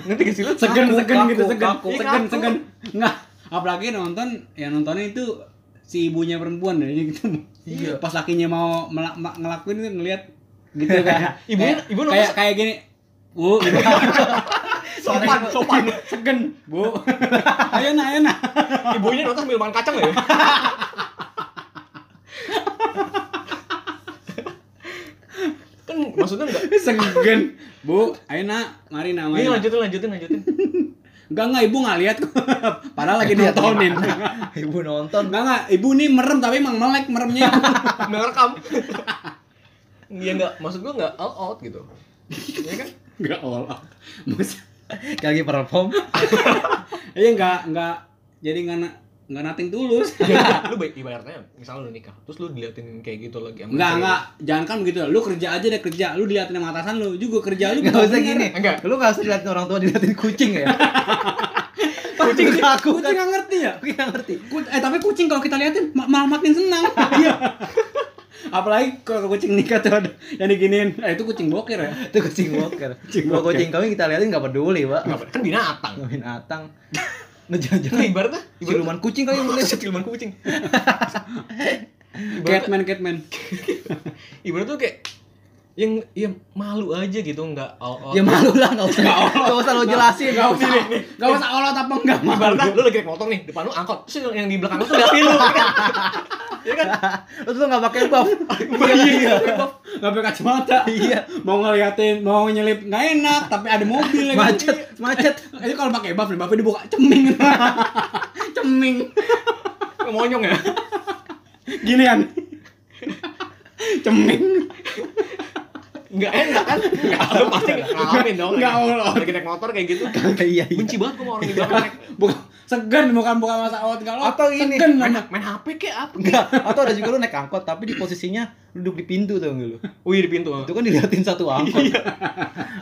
S2: nanti ke silat
S3: segan segan gitu
S1: kaku,
S3: segan
S1: kaku.
S3: segan
S2: Kaku.
S3: segan nggak apalagi nonton yang nontonnya itu si ibunya perempuan jadi gitu
S1: Iya.
S3: pas lakinya mau melak- ma- ngelakuin itu ngelihat gitu kayak
S2: Ibunya-
S3: kayak-
S2: ibu
S3: kayak kayak gini bu gitu.
S2: sopan sopan
S3: segen bu ayo nah ayo nah
S2: ibunya nonton sambil makan kacang ya kan maksudnya nggak
S3: segen bu ayo nak mari nah mari
S2: ini
S3: nak.
S2: lanjutin lanjutin lanjutin
S3: enggak enggak ibu nggak lihat kok. padahal lagi nontonin enggak
S1: Ibu nonton.
S3: enggak ibu nih merem tapi emang melek meremnya
S2: ngerekam ya nggak maksud gua nggak all out gitu ya kan
S3: enggak all out Maksud-
S1: Lagi perform.
S3: Iya nggak nggak jadi nggak na- nggak nating tulus.
S2: Ya, lu baik ibaratnya misalnya lu nikah terus lu diliatin kayak gitu lagi sama
S3: Nggak
S2: istri lu.
S3: nggak jangan kan begitu. Lu kerja aja deh kerja. Lu diliatin sama atasan lu juga kerja lu
S1: Gak
S3: bukan
S1: usah
S3: bener.
S1: gini.
S2: Enggak.
S1: Lu gak usah diliatin orang tua diliatin kucing ya. kucing aku kan-
S3: Kucing nggak ngerti ya.
S1: Aku nggak ngerti.
S3: Ku- eh tapi kucing kalau kita liatin ma- malah makin senang. Iya. Apalagi kalau kucing nikah tuh ada yang diginiin. Eh itu kucing bokir ya.
S1: Itu kucing walker.
S3: Kucing
S1: Kalau
S3: walker.
S1: kucing kami kita liatin gak peduli, Pak.
S2: Nggak, kan binatang
S1: Ngapain atang. Nah,
S2: Itu
S1: jangan-jangan
S2: ibaratnya
S1: siluman kucing kali yang boleh.
S2: siluman kucing ibaratnya
S3: Catman Catman.
S2: ibarat tuh kayak yang ya malu aja gitu nggak all out
S1: Ya malu lah, gak usah. Gak usah lo jelasin.
S3: Gak usah gak usah olot apa enggak mah.
S2: ibaratnya lu lagi naik motor nih depan lu angkot terus yang, yang di belakang lu tuh liatin lu kan? ya kan
S1: Lu tuh gak pakai buff.
S3: Iya. Gak pakai kacamata.
S1: Iya.
S3: Mau ngeliatin, mau nyelip nggak enak, tapi ada mobil ya kan?
S1: Macet, macet.
S3: Itu kalau pakai buff, nih, buffnya dibuka ceming. ceming.
S2: monyong ya
S3: Ginian. ceming.
S2: nggak enak kan nggak lu pasti ngalamin dong
S3: Nggak
S2: ya.
S3: all out.
S2: lagi naik motor kayak gitu
S1: Iya, iya.
S2: benci banget gua sama orang di belakang naik
S3: Bukan segan bukan bukan masa awat kalau
S1: Atau ini,
S3: segan
S2: main,
S3: nama.
S2: main HP kayak apa
S1: Enggak, atau ada juga lu naik angkot tapi di posisinya lu duduk di pintu tuh lu.
S2: wih di pintu
S1: Itu kan diliatin satu angkot.
S3: Iya.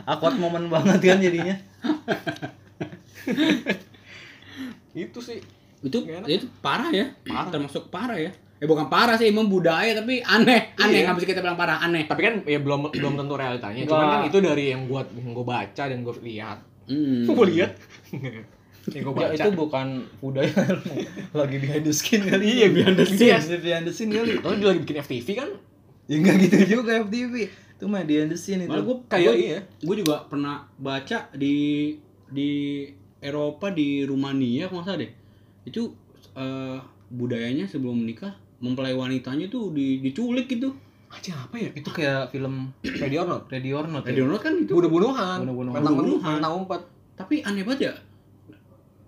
S1: angkot momen banget kan jadinya.
S2: itu Gitu sih
S3: itu
S2: Nggak enak.
S3: itu parah ya
S2: Parah.
S3: termasuk parah ya eh bukan parah sih emang budaya tapi aneh aneh
S2: Iya.
S3: nggak bisa kita bilang parah aneh
S2: tapi kan ya belum belum tentu realitanya
S1: Nggak.
S2: cuman kan itu dari yang gua yang gua baca dan gua lihat
S3: hmm.
S2: gua lihat yang gua
S1: Ya
S2: baca
S1: itu bukan budaya lagi behind the skin kali.
S2: Iya, behind the scene.
S1: Iya, behind the scene kali.
S2: Terus dia lagi bikin FTV kan
S1: Ya enggak gitu juga FTV. Itu mah behind the scene
S3: Malah
S1: itu.
S3: gue
S2: Kayak
S3: kayak
S2: iya.
S3: Gue juga pernah baca di di Eropa di Rumania kalau nggak salah deh. Itu eh, budayanya sebelum menikah mempelai wanitanya tuh di- diculik gitu.
S2: aja apa ya
S1: Itu kayak film
S2: Ready or Not
S1: Ready or Not. ya?
S3: Radio Not kan itu.
S2: bunuh-bunuhan
S1: Bunuh-bunuhan.
S2: bunuh-bunuhan
S3: Bunuh-bunuhan.
S2: tahun empat
S3: Tapi aneh banget ya.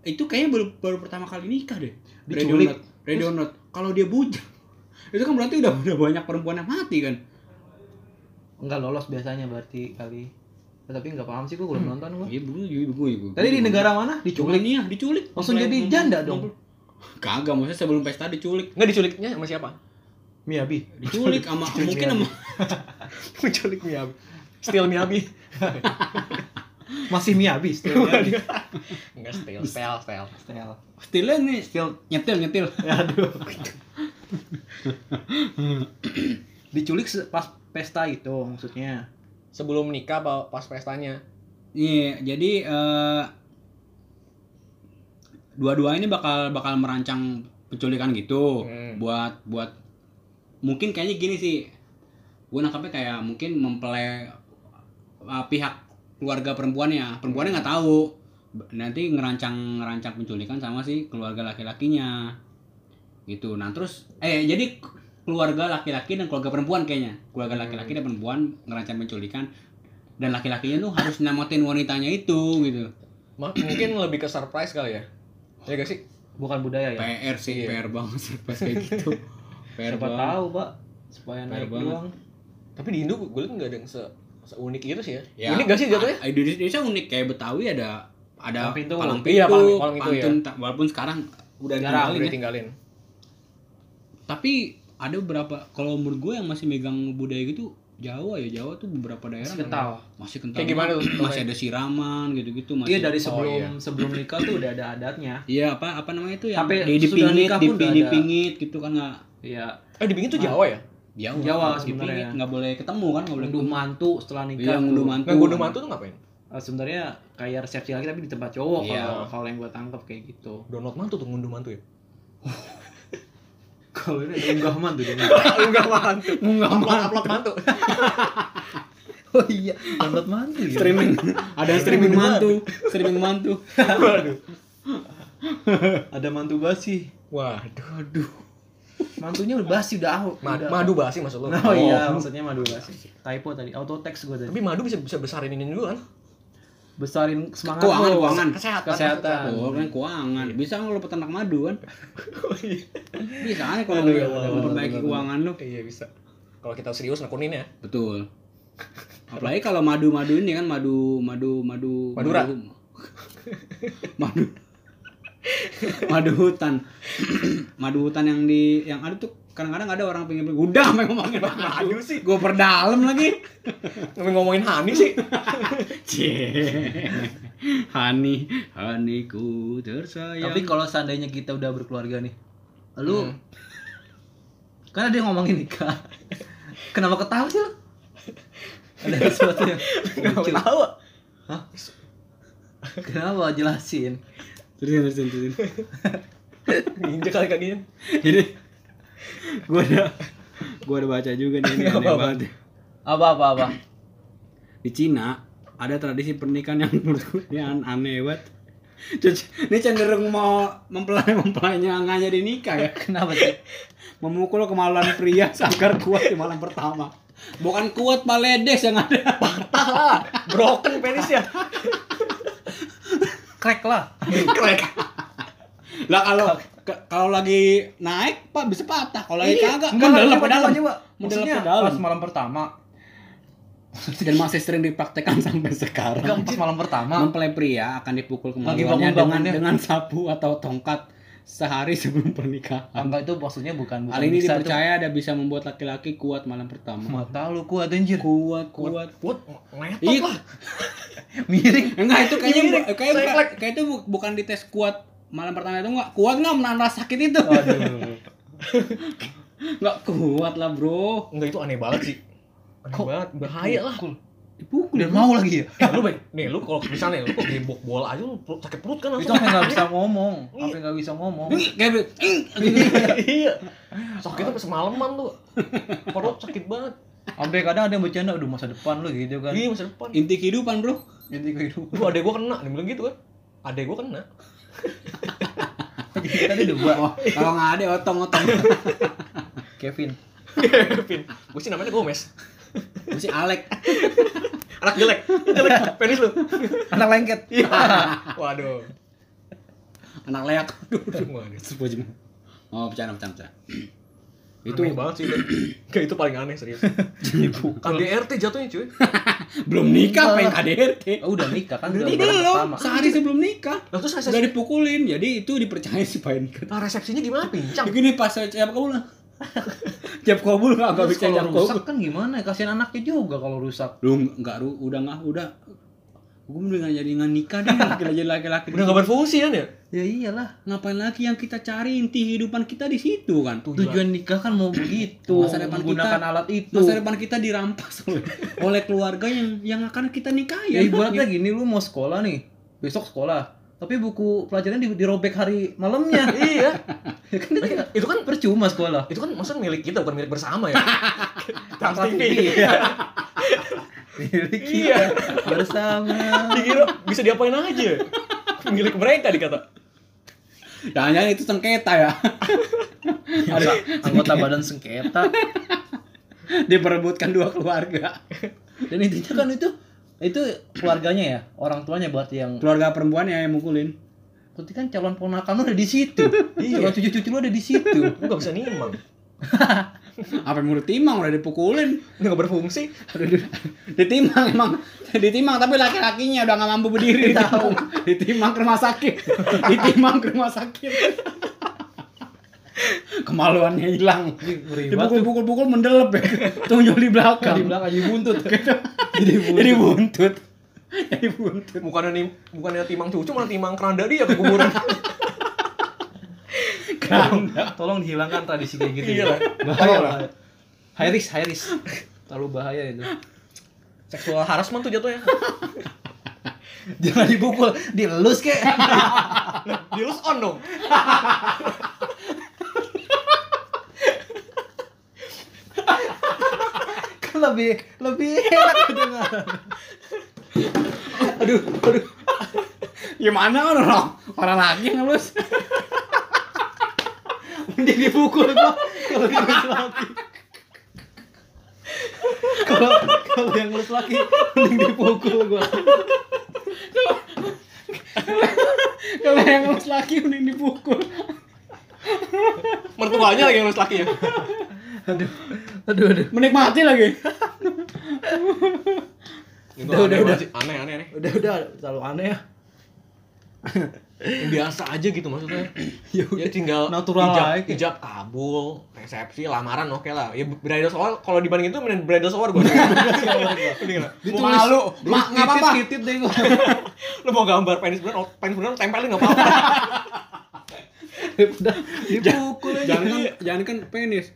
S3: Itu kayaknya baru baru pertama kali nikah deh.
S1: Diculik.
S3: Diculik. Radio Not. Kalau dia bujang itu kan berarti udah udah banyak perempuan yang mati kan.
S1: Enggak lolos biasanya berarti kali. Ya, tapi enggak paham sih gua belum nonton gua.
S3: Iya, gue gue
S1: Tadi di negara mana? Diculik.
S3: Rumania Iya, diculik.
S1: Langsung
S3: Mempelai-
S1: jadi
S3: mem-
S1: janda
S3: mem-
S1: dong.
S3: Kagak, maksudnya sebelum pesta diculik.
S2: nggak diculiknya sama siapa Miyabi
S3: diculik sama
S1: Diculik Miyabi.
S3: mungkin sama
S2: menculik Miyabi still Miyabi
S1: Masih Miyabi still. Miyabi.
S2: nggak still stel stel
S1: Still.
S3: stilnya nih stil nyetil nyetil
S1: Aduh. Diculik se- pas pesta itu maksudnya.
S2: sebelum nikah apa pas pestanya
S3: iya jadi eh dua-dua ini bakal bakal merancang penculikan gitu
S2: Hmm.
S3: buat buat mungkin kayaknya gini sih gue nangkapnya kayak mungkin mempelai uh, pihak keluarga perempuannya perempuannya nggak tahu B- nanti ngerancang ngerancang penculikan sama si keluarga laki-lakinya gitu nah terus eh jadi k- keluarga laki-laki dan keluarga perempuan kayaknya keluarga
S2: Hmm.
S3: laki-laki dan perempuan ngerancang penculikan dan laki-lakinya tuh harus nyamotin wanitanya itu gitu
S2: Ma- mungkin lebih ke surprise kali ya ya gak sih
S1: bukan budaya ya
S3: PR sih
S2: Iya.
S3: PR banget surprise kayak gitu PR
S1: siapa
S3: banget
S1: tahu pak supaya
S3: Fair
S1: naik
S3: banget.
S1: doang
S2: tapi di Indo gue liat nggak ada yang se seunik itu sih ya,
S3: Ya.
S2: unik gak sih jatuhnya
S3: Ah, Indonesia, Indonesia unik kayak Betawi ada
S1: Palang
S3: ada
S1: pintu.
S3: palang pintu,
S2: Iya, palang- palang itu ya.
S3: pantun, ta- walaupun sekarang udah
S1: Jarang,
S2: udah
S3: ditinggalin ya.
S2: tinggalin
S3: Tapi ada beberapa kalau menurut gue yang masih megang budaya gitu Jawa ya Jawa tuh beberapa daerah
S1: Masih kental
S3: masih kental
S2: Kayak gimana
S3: banget.
S2: tuh?
S3: masih ada siraman gitu-gitu masih
S1: iya dari sebelum
S2: iya.
S1: sebelum nikah tuh udah ada adatnya
S3: Iya, apa apa namanya itu yang
S1: Sampai sudah
S3: di dipingit
S1: nikah pun udah ada.
S3: dipingit gitu kan nggak
S1: iya
S2: eh di Bingin tuh
S1: Ma-
S2: Jawa ya
S3: Jawa,
S1: Jawa
S3: dipingit,
S1: sebenarnya.
S3: nggak boleh ketemu kan nggak boleh
S1: ngunduh mantu setelah nikah
S3: Iya,
S1: tuh.
S3: ngunduh mantu.
S2: nggak gunung mantu tuh ngapain
S1: Eh, sebenarnya kayak resepsi lagi tapi di tempat cowok
S3: Iya.
S1: kalau kalau yang gue tangkap kayak gitu
S2: download mantu tuh ngunduh mantu ya
S1: kalau ini ada unggah mantu dong
S2: nggak mantu
S3: Nggak
S2: upload upload mantu
S1: oh iya download mantu ya
S3: streaming ada streaming mantu streaming mantu
S2: waduh
S1: ada mantu basi
S2: waduh
S1: aduh mantunya udah basi udah au
S2: Ma-
S1: udah.
S2: madu basi maksud lo
S1: Nah, Iya. oh, iya maksudnya madu basi typo tadi auto text gue tadi
S2: tapi madu bisa bisa besarin ini dulu kan
S1: besarin semangat
S3: Keuangan,
S1: lo.
S3: keuangan.
S1: kesehatan,
S2: Kesehatan.
S1: kesehatan.
S3: Oh, kan keuangan. Bisa kan lo peternak madu kan?
S2: Oh,
S3: Bisa kan kalau
S2: Aduh,
S3: lo
S2: ya Allah,
S3: memperbaiki
S1: bener-bener.
S3: keuangan lo.
S2: iya bisa kalau kita serius nekunin ya
S3: Betul. Apalagi kalau madu-madu ini kan madu madu madu
S2: Madura.
S3: madu madu, madu hutan. madu hutan yang di yang ada tuh kadang-kadang ada orang pengen beli udah main ngomongin madu
S2: madu sih
S3: gue perdalam lagi
S2: Ngomongin- ngomongin Hani sih
S3: cie hani haniku tersayang
S1: Tapi kalau seandainya kita udah berkeluarga nih, lu
S2: Hmm.
S1: kan ada yang ngomongin nikah. Kenapa ketawa sih lu? Ada sesuatu yang
S2: nggak
S1: lucu.
S2: tahu
S1: Hah? Kenapa jelasin?
S3: terusin terusin terusin
S2: injek kali kakinya
S3: Jadi gua ada gua ada baca juga nih ini aneh
S2: Apa-apa?
S3: banget. ya.
S1: Apa apa apa?
S3: Di Cina ada tradisi pernikahan yang menurut gue ini an- aneh banget. Cuc- Ini cenderung mau mempelai mempelainya nggak jadi nikah ya.
S1: Kenapa sih?
S3: Memukul kemaluan pria agar kuat di malam pertama. Bukan kuat paledes yang ada.
S2: broken ya. penisnya
S1: Crack lah.
S2: crack
S3: Lah kalau ke- kalau lagi naik pak bisa patah. Kalau lagi
S1: Iya,
S3: kagak
S1: enggak
S3: mendalam
S1: coba,
S3: mendalam.
S1: coba, coba. Maksudnya
S3: Mendalam, mendalam.
S1: pas malam pertama.
S3: Dan masih sering dipraktekkan sampai sekarang.
S1: Enggak pas malam pertama.
S3: mempelai pria akan dipukul
S1: Lagi
S3: kemaluannya dengan
S1: bangun-bangunnya.
S3: dengan sapu atau tongkat sehari sebelum pernikahan.
S1: Enggak itu maksudnya bukan bukan
S3: Hal ini
S1: bisa,
S3: dipercaya ada bisa membuat laki-laki kuat malam
S1: itu.
S3: pertama.
S1: Mata lu kuat anjir.
S3: Kuat, kuat.
S2: buat metot
S3: Iya.
S2: lah
S1: Miring.
S3: Enggak itu kayaknya
S2: Ini,
S3: bu-
S2: ini,
S3: kayak
S2: saya
S3: bukan-
S2: klik.
S3: kayak itu bu- bukan dites kuat malam pertama itu enggak kuat enggak menahan rasa sakit itu.
S1: Waduh.
S3: Enggak kuat lah, Bro.
S2: enggak itu aneh banget sih aneh
S1: Kok-
S2: banget bahaya lah
S3: Dipukul.
S1: Dan mau lagi ya?
S2: Eh, lu baik nih lu kalau misalnya lu kok gebok bola aja lu perut- sakit perut kan
S1: Itu
S2: langsung
S1: sampai nggak bisa ngomong, sampai nggak bisa ngomong.
S3: Ih, Kayak be- ih,
S2: iya sakit sampai semalaman tuh perut sakit banget
S1: Sampai kadang ada yang bercanda, aduh masa depan lu gitu kan.
S2: iya masa depan
S3: inti kehidupan, Bro.
S1: Jadi kehidupan.
S2: lu adek gua kena dia bilang gitu kan adek gua kena
S1: Jadi kita ada dua.
S3: Oh, kalau enggak ada otong-otong.
S1: Kevin.
S2: Kevin gua sih namanya Gomez
S3: Gua sih Alek.
S2: anak jelek jelek penis lu
S1: Anak lengket.
S2: iya waduh
S3: Anak leak.
S2: waduh
S3: Oh, bercanda, bercanda. bercanda.
S2: itu
S3: Itu
S2: aneh banget sih itu Kayak itu paling aneh serius Kan KDRT jatuhnya cuy
S3: belum nikah pengen KDRT.
S1: Oh, udah nikah kan udah
S3: Belum,
S1: bulan
S3: belum.
S1: pertama.
S3: Sehari sebelum nikah.
S2: Lah terus
S3: Sudah
S2: resepsi
S3: dipukulin, jadi itu dipercaya supaya nikah.
S2: Lah resepsinya gimana pincang
S3: Begini pas saya siap kabul lah. Siap kabul nggak nggak
S1: Terus
S3: bisa siap
S1: kalau
S3: kabul.
S1: rusak kan gimana? Kasihan anaknya juga kalau rusak.
S3: Lu nggak ru, udah nggak udah. Gue mendingan jadi nggak nikah deh, laki jadi laki-laki.
S2: Udah gak berfungsi kan ya
S1: Ya iyalah.
S3: Ngapain lagi yang kita cari inti kehidupan kita di situ kan?
S1: Tujuan nikah kan mau begitu.
S3: Masa depan
S1: menggunakan
S3: kita-
S1: alat itu.
S3: Masa depan kita dirampas oleh, oleh keluarga yang yang akan kita nikahi.
S1: Ya ibaratnya gini lu mau sekolah nih. Besok sekolah. tapi buku pelajaran di, dirobek hari malamnya
S2: iya
S1: Ya kan itu kayak
S2: itu kan
S1: percuma sekolah
S2: itu kan maksudnya milik kita bukan milik bersama ya Trans TV
S1: iya Milik kita Iya. bersama
S2: dikira bisa diapain aja milik mereka dikata
S3: Jangan-jangan itu sengketa ya.
S1: ada anggota badan sengketa
S3: Diperebutkan dua keluarga.
S1: dan intinya kan itu itu keluarganya ya orang tuanya berarti yang
S3: Keluarga perempuan ya yang mukulin.
S1: berarti kan calon ponakan lu ada di situ
S2: Iya.
S1: calon cucu-cucu lu ada di situ
S2: lu gak bisa nimang
S3: Apa mulut timang udah dipukulin.
S2: lu gak berfungsi
S3: Udah di- ditimang emang ditimang tapi laki-lakinya udah nggak mampu berdiri
S1: Iya.
S3: tahu ditimang ke rumah sakit ditimang ke rumah sakit kemaluannya hilang dipukul-pukul-pukul mendelep ya tunjul
S1: di
S3: di belakang
S1: belakang Gitu. jadi buntut
S3: jadi buntut jadi buntut, jadi buntut.
S2: bukannya nim bukannya timang cucu malah timang keranda dia ke kuburan
S1: Kan.
S3: Keranda.
S1: tolong dihilangkan tradisi kayak gitu
S2: Iya
S1: ya.
S2: lah.
S1: bahaya
S2: Tolong lah.
S1: bahaya. high risk high risk terlalu bahaya itu
S2: seksual harassment tuh jatuhnya
S1: jangan dipukul dielus kek
S2: dilus on dong
S1: kan lebih lebih enak gitu, kedengaran
S3: aduh aduh gimana kan orang orang lagi ngelus
S1: mending dipukul gua kalau dielus lagi kalau kalau yang elus lagi mending dipukul gua
S3: kalau yang ngelus laki mending dipukul
S2: mertuanya lagi yang lulus laki ya
S1: aduh aduh aduh
S3: menikmati lagi
S2: Itu
S1: Udah, udah,
S2: Gitu, aneh
S1: udah.
S2: banget sih. aneh aneh aneh
S1: udah udah terlalu aneh ya
S2: Yang biasa aja gitu maksudnya
S1: ya
S2: ya tinggal
S1: Natural
S2: ijab,
S1: aja kayak.
S2: ijab kabul resepsi lamaran oke lah ya bridal shower kalau dibandingin itu mending bridal shower gue
S3: Ditulis. Malu. Ma- nggak apa-apa.
S1: titit deh gua
S2: lu mau gambar penis bulan penis bulan tempelin nggak apa-apa
S1: Daripada dipukul aja Iya.
S3: jangan kan jangan kan penis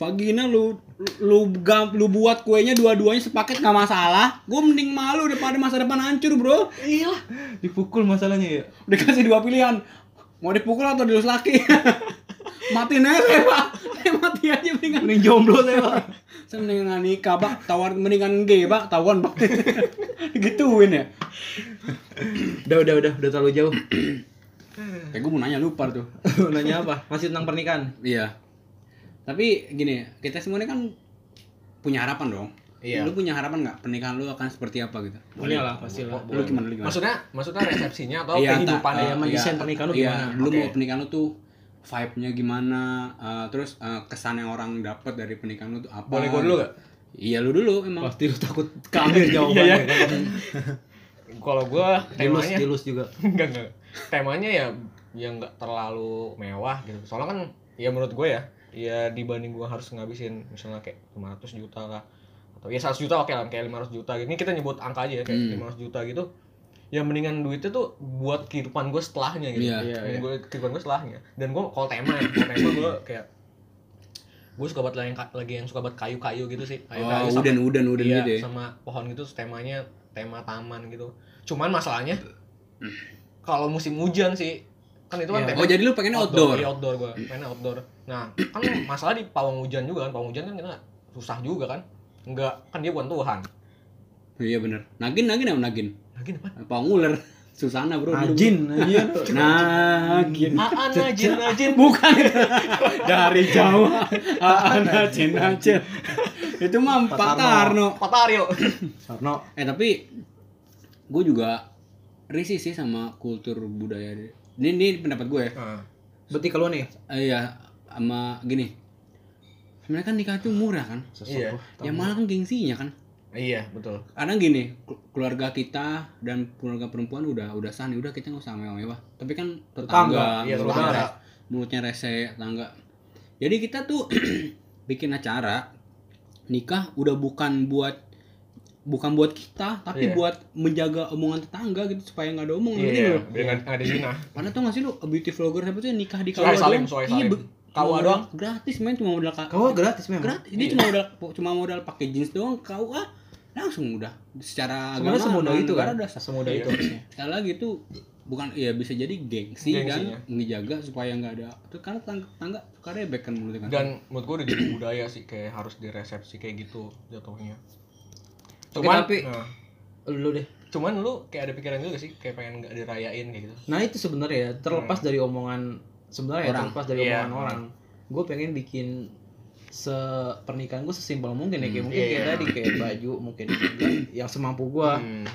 S3: vagina lu lu gam- lu buat kuenya dua-duanya sepaket nggak masalah gue mending malu daripada masa depan hancur bro
S2: iya lah
S1: dipukul masalahnya ya
S3: dikasih dua pilihan mau dipukul atau dilus laki matiin aja saya pak saya mati aja mendingan
S1: mending jomblo saya pak
S3: saya mendingan nikah pak tawar mendingan gay pak tawon pak gituin ya
S1: udah udah udah udah terlalu jauh
S3: kayak gue Eh, mau nanya lupa tuh
S1: nanya apa masih tentang pernikahan
S3: iya tapi gini kita semua ini kan punya harapan dong
S2: Iya.
S3: lu punya harapan nggak pernikahan lu akan seperti apa gitu
S1: boleh lah pasti lah
S3: Lu gimana, lu gimana?
S2: maksudnya maksudnya resepsinya atau
S3: Iya,
S2: kehidupannya
S1: tak,
S2: yang
S1: eh,
S2: iya.
S1: desain pernikahan lu
S3: iya,
S1: gimana?
S3: Lu
S2: Oke.
S3: mau pernikahan lu tuh vibe-nya gimana? eh, terus eh, kesan yang orang dapat dari pernikahan lu tuh apa?
S2: boleh gue dulu gak
S3: Iya, lu dulu emang.
S1: pasti lu takut keambil
S2: Iya,
S1: jawabannya kan
S2: kalau gue
S1: dilus
S2: temanya
S1: dilus juga
S2: enggak enggak temanya ya yang nggak terlalu mewah gitu soalnya kan ya menurut gue ya ya dibanding gue harus ngabisin misalnya kayak 500 juta lah atau ya 100 juta oke lah kayak 500 juta ini kita nyebut angka aja ya kayak
S3: Hmm.
S2: 500 juta gitu ya mendingan duitnya tuh buat kehidupan gue setelahnya gitu
S3: Iya.
S1: Iya,
S2: Mending
S1: iya.
S2: gue kehidupan gue setelahnya dan gue kalau tema ya kalau tema gue kayak gue suka buat lagi yang lagi yang suka buat kayu-kayu gitu sih kayu-kayu
S3: Oh,
S2: sama-
S3: udan udan udan
S2: Iya,
S3: gitu ya.
S2: sama pohon gitu terus temanya tema taman gitu cuman masalahnya kalau musim hujan sih kan itu kan
S1: Iya.
S2: tema
S3: Oh, jadi lu pengennya outdoor.
S2: Iya, outdoor gua mainnya outdoor nah kan masalah di pawang hujan juga kan pawang hujan kan kita susah juga kan enggak kan dia bukan Tuhan
S3: Iya, bener. Nagin nagin apa nagin?
S2: lagi depan
S3: Apa ular? Susana, Bro. dulu.
S1: ajin ajin
S3: Nagin.
S2: Aan najin najin
S3: Bukan dari jauh. Ana Cina Itu mah
S1: Pak
S3: Pak
S1: Tarno.
S3: Tarno.
S2: Patario
S1: Sarno
S3: Eh tapi gue juga risih sih sama kultur budaya. Ini, ini pendapat gue ya.
S2: nah,
S1: berarti kalau nih
S3: Eh, Iya, sama gini. Sebenarnya kan nikah itu murah kan.
S2: Iya.
S3: Yang malah kan gengsinya kan.
S2: iya betul
S3: Karena gini, kelu- keluarga kita dan keluarga perempuan udah udah sah nih, udah kita nggak usah mewah-mewah. Tapi kan tetangga,
S1: Tetangga,
S2: iya,
S3: mulutnya
S2: tetangga.
S3: re- mulutnya rese, tetangga. Jadi kita tuh bikin acara nikah udah bukan buat bukan buat kita, tapi
S2: Iya.
S3: buat menjaga omongan tetangga gitu supaya nggak ada omongan gitu
S2: iya
S3: loh.
S2: dengan ada zina
S3: Padahal tau gak sih lu beauty vlogger siapa tuh yang nikah di
S2: Suhail
S3: KUA
S2: Salim,
S3: doang?
S2: Suhail
S3: Iya,
S2: Salim.
S3: be-
S2: KUA
S3: cuma
S2: doang?
S3: modal- Gratis main cuma modal ka-
S1: kau gratis Iya. memang
S3: gratis. Dia cuma modal cuma modal pakai jeans doang KUA langsung udah secara
S1: sebenarnya semudah
S3: dan
S1: itu kan
S3: negara udah sah.
S1: semudah
S2: Iya.
S1: itu harusnya
S3: sekali lagi tuh bukan ya bisa jadi gengsi
S2: Gengsinya.
S3: dan ngejaga supaya nggak ada itu karena tangga tangga suka rebek kan mulutnya kan
S2: dan menurut gue udah jadi budaya sih kayak harus diresepsi kayak gitu jatuhnya
S1: Oke,
S2: cuman
S1: tapi-
S2: nah,
S1: Iya. lu deh
S2: cuman lu kayak ada pikiran gitu gak sih kayak pengen nggak dirayain kayak gitu
S1: nah itu sebenarnya ya, terlepas dari omongan sebenarnya ya,
S3: Orang.
S1: terlepas dari
S2: Iya.
S1: omongan orang gue pengen bikin se pernikahan gue sesimpel mungkin ya kayak mungkin
S2: Iya,
S1: kayak
S2: iya.
S1: tadi kayak baju mungkin juga yang semampu gue
S2: Hmm.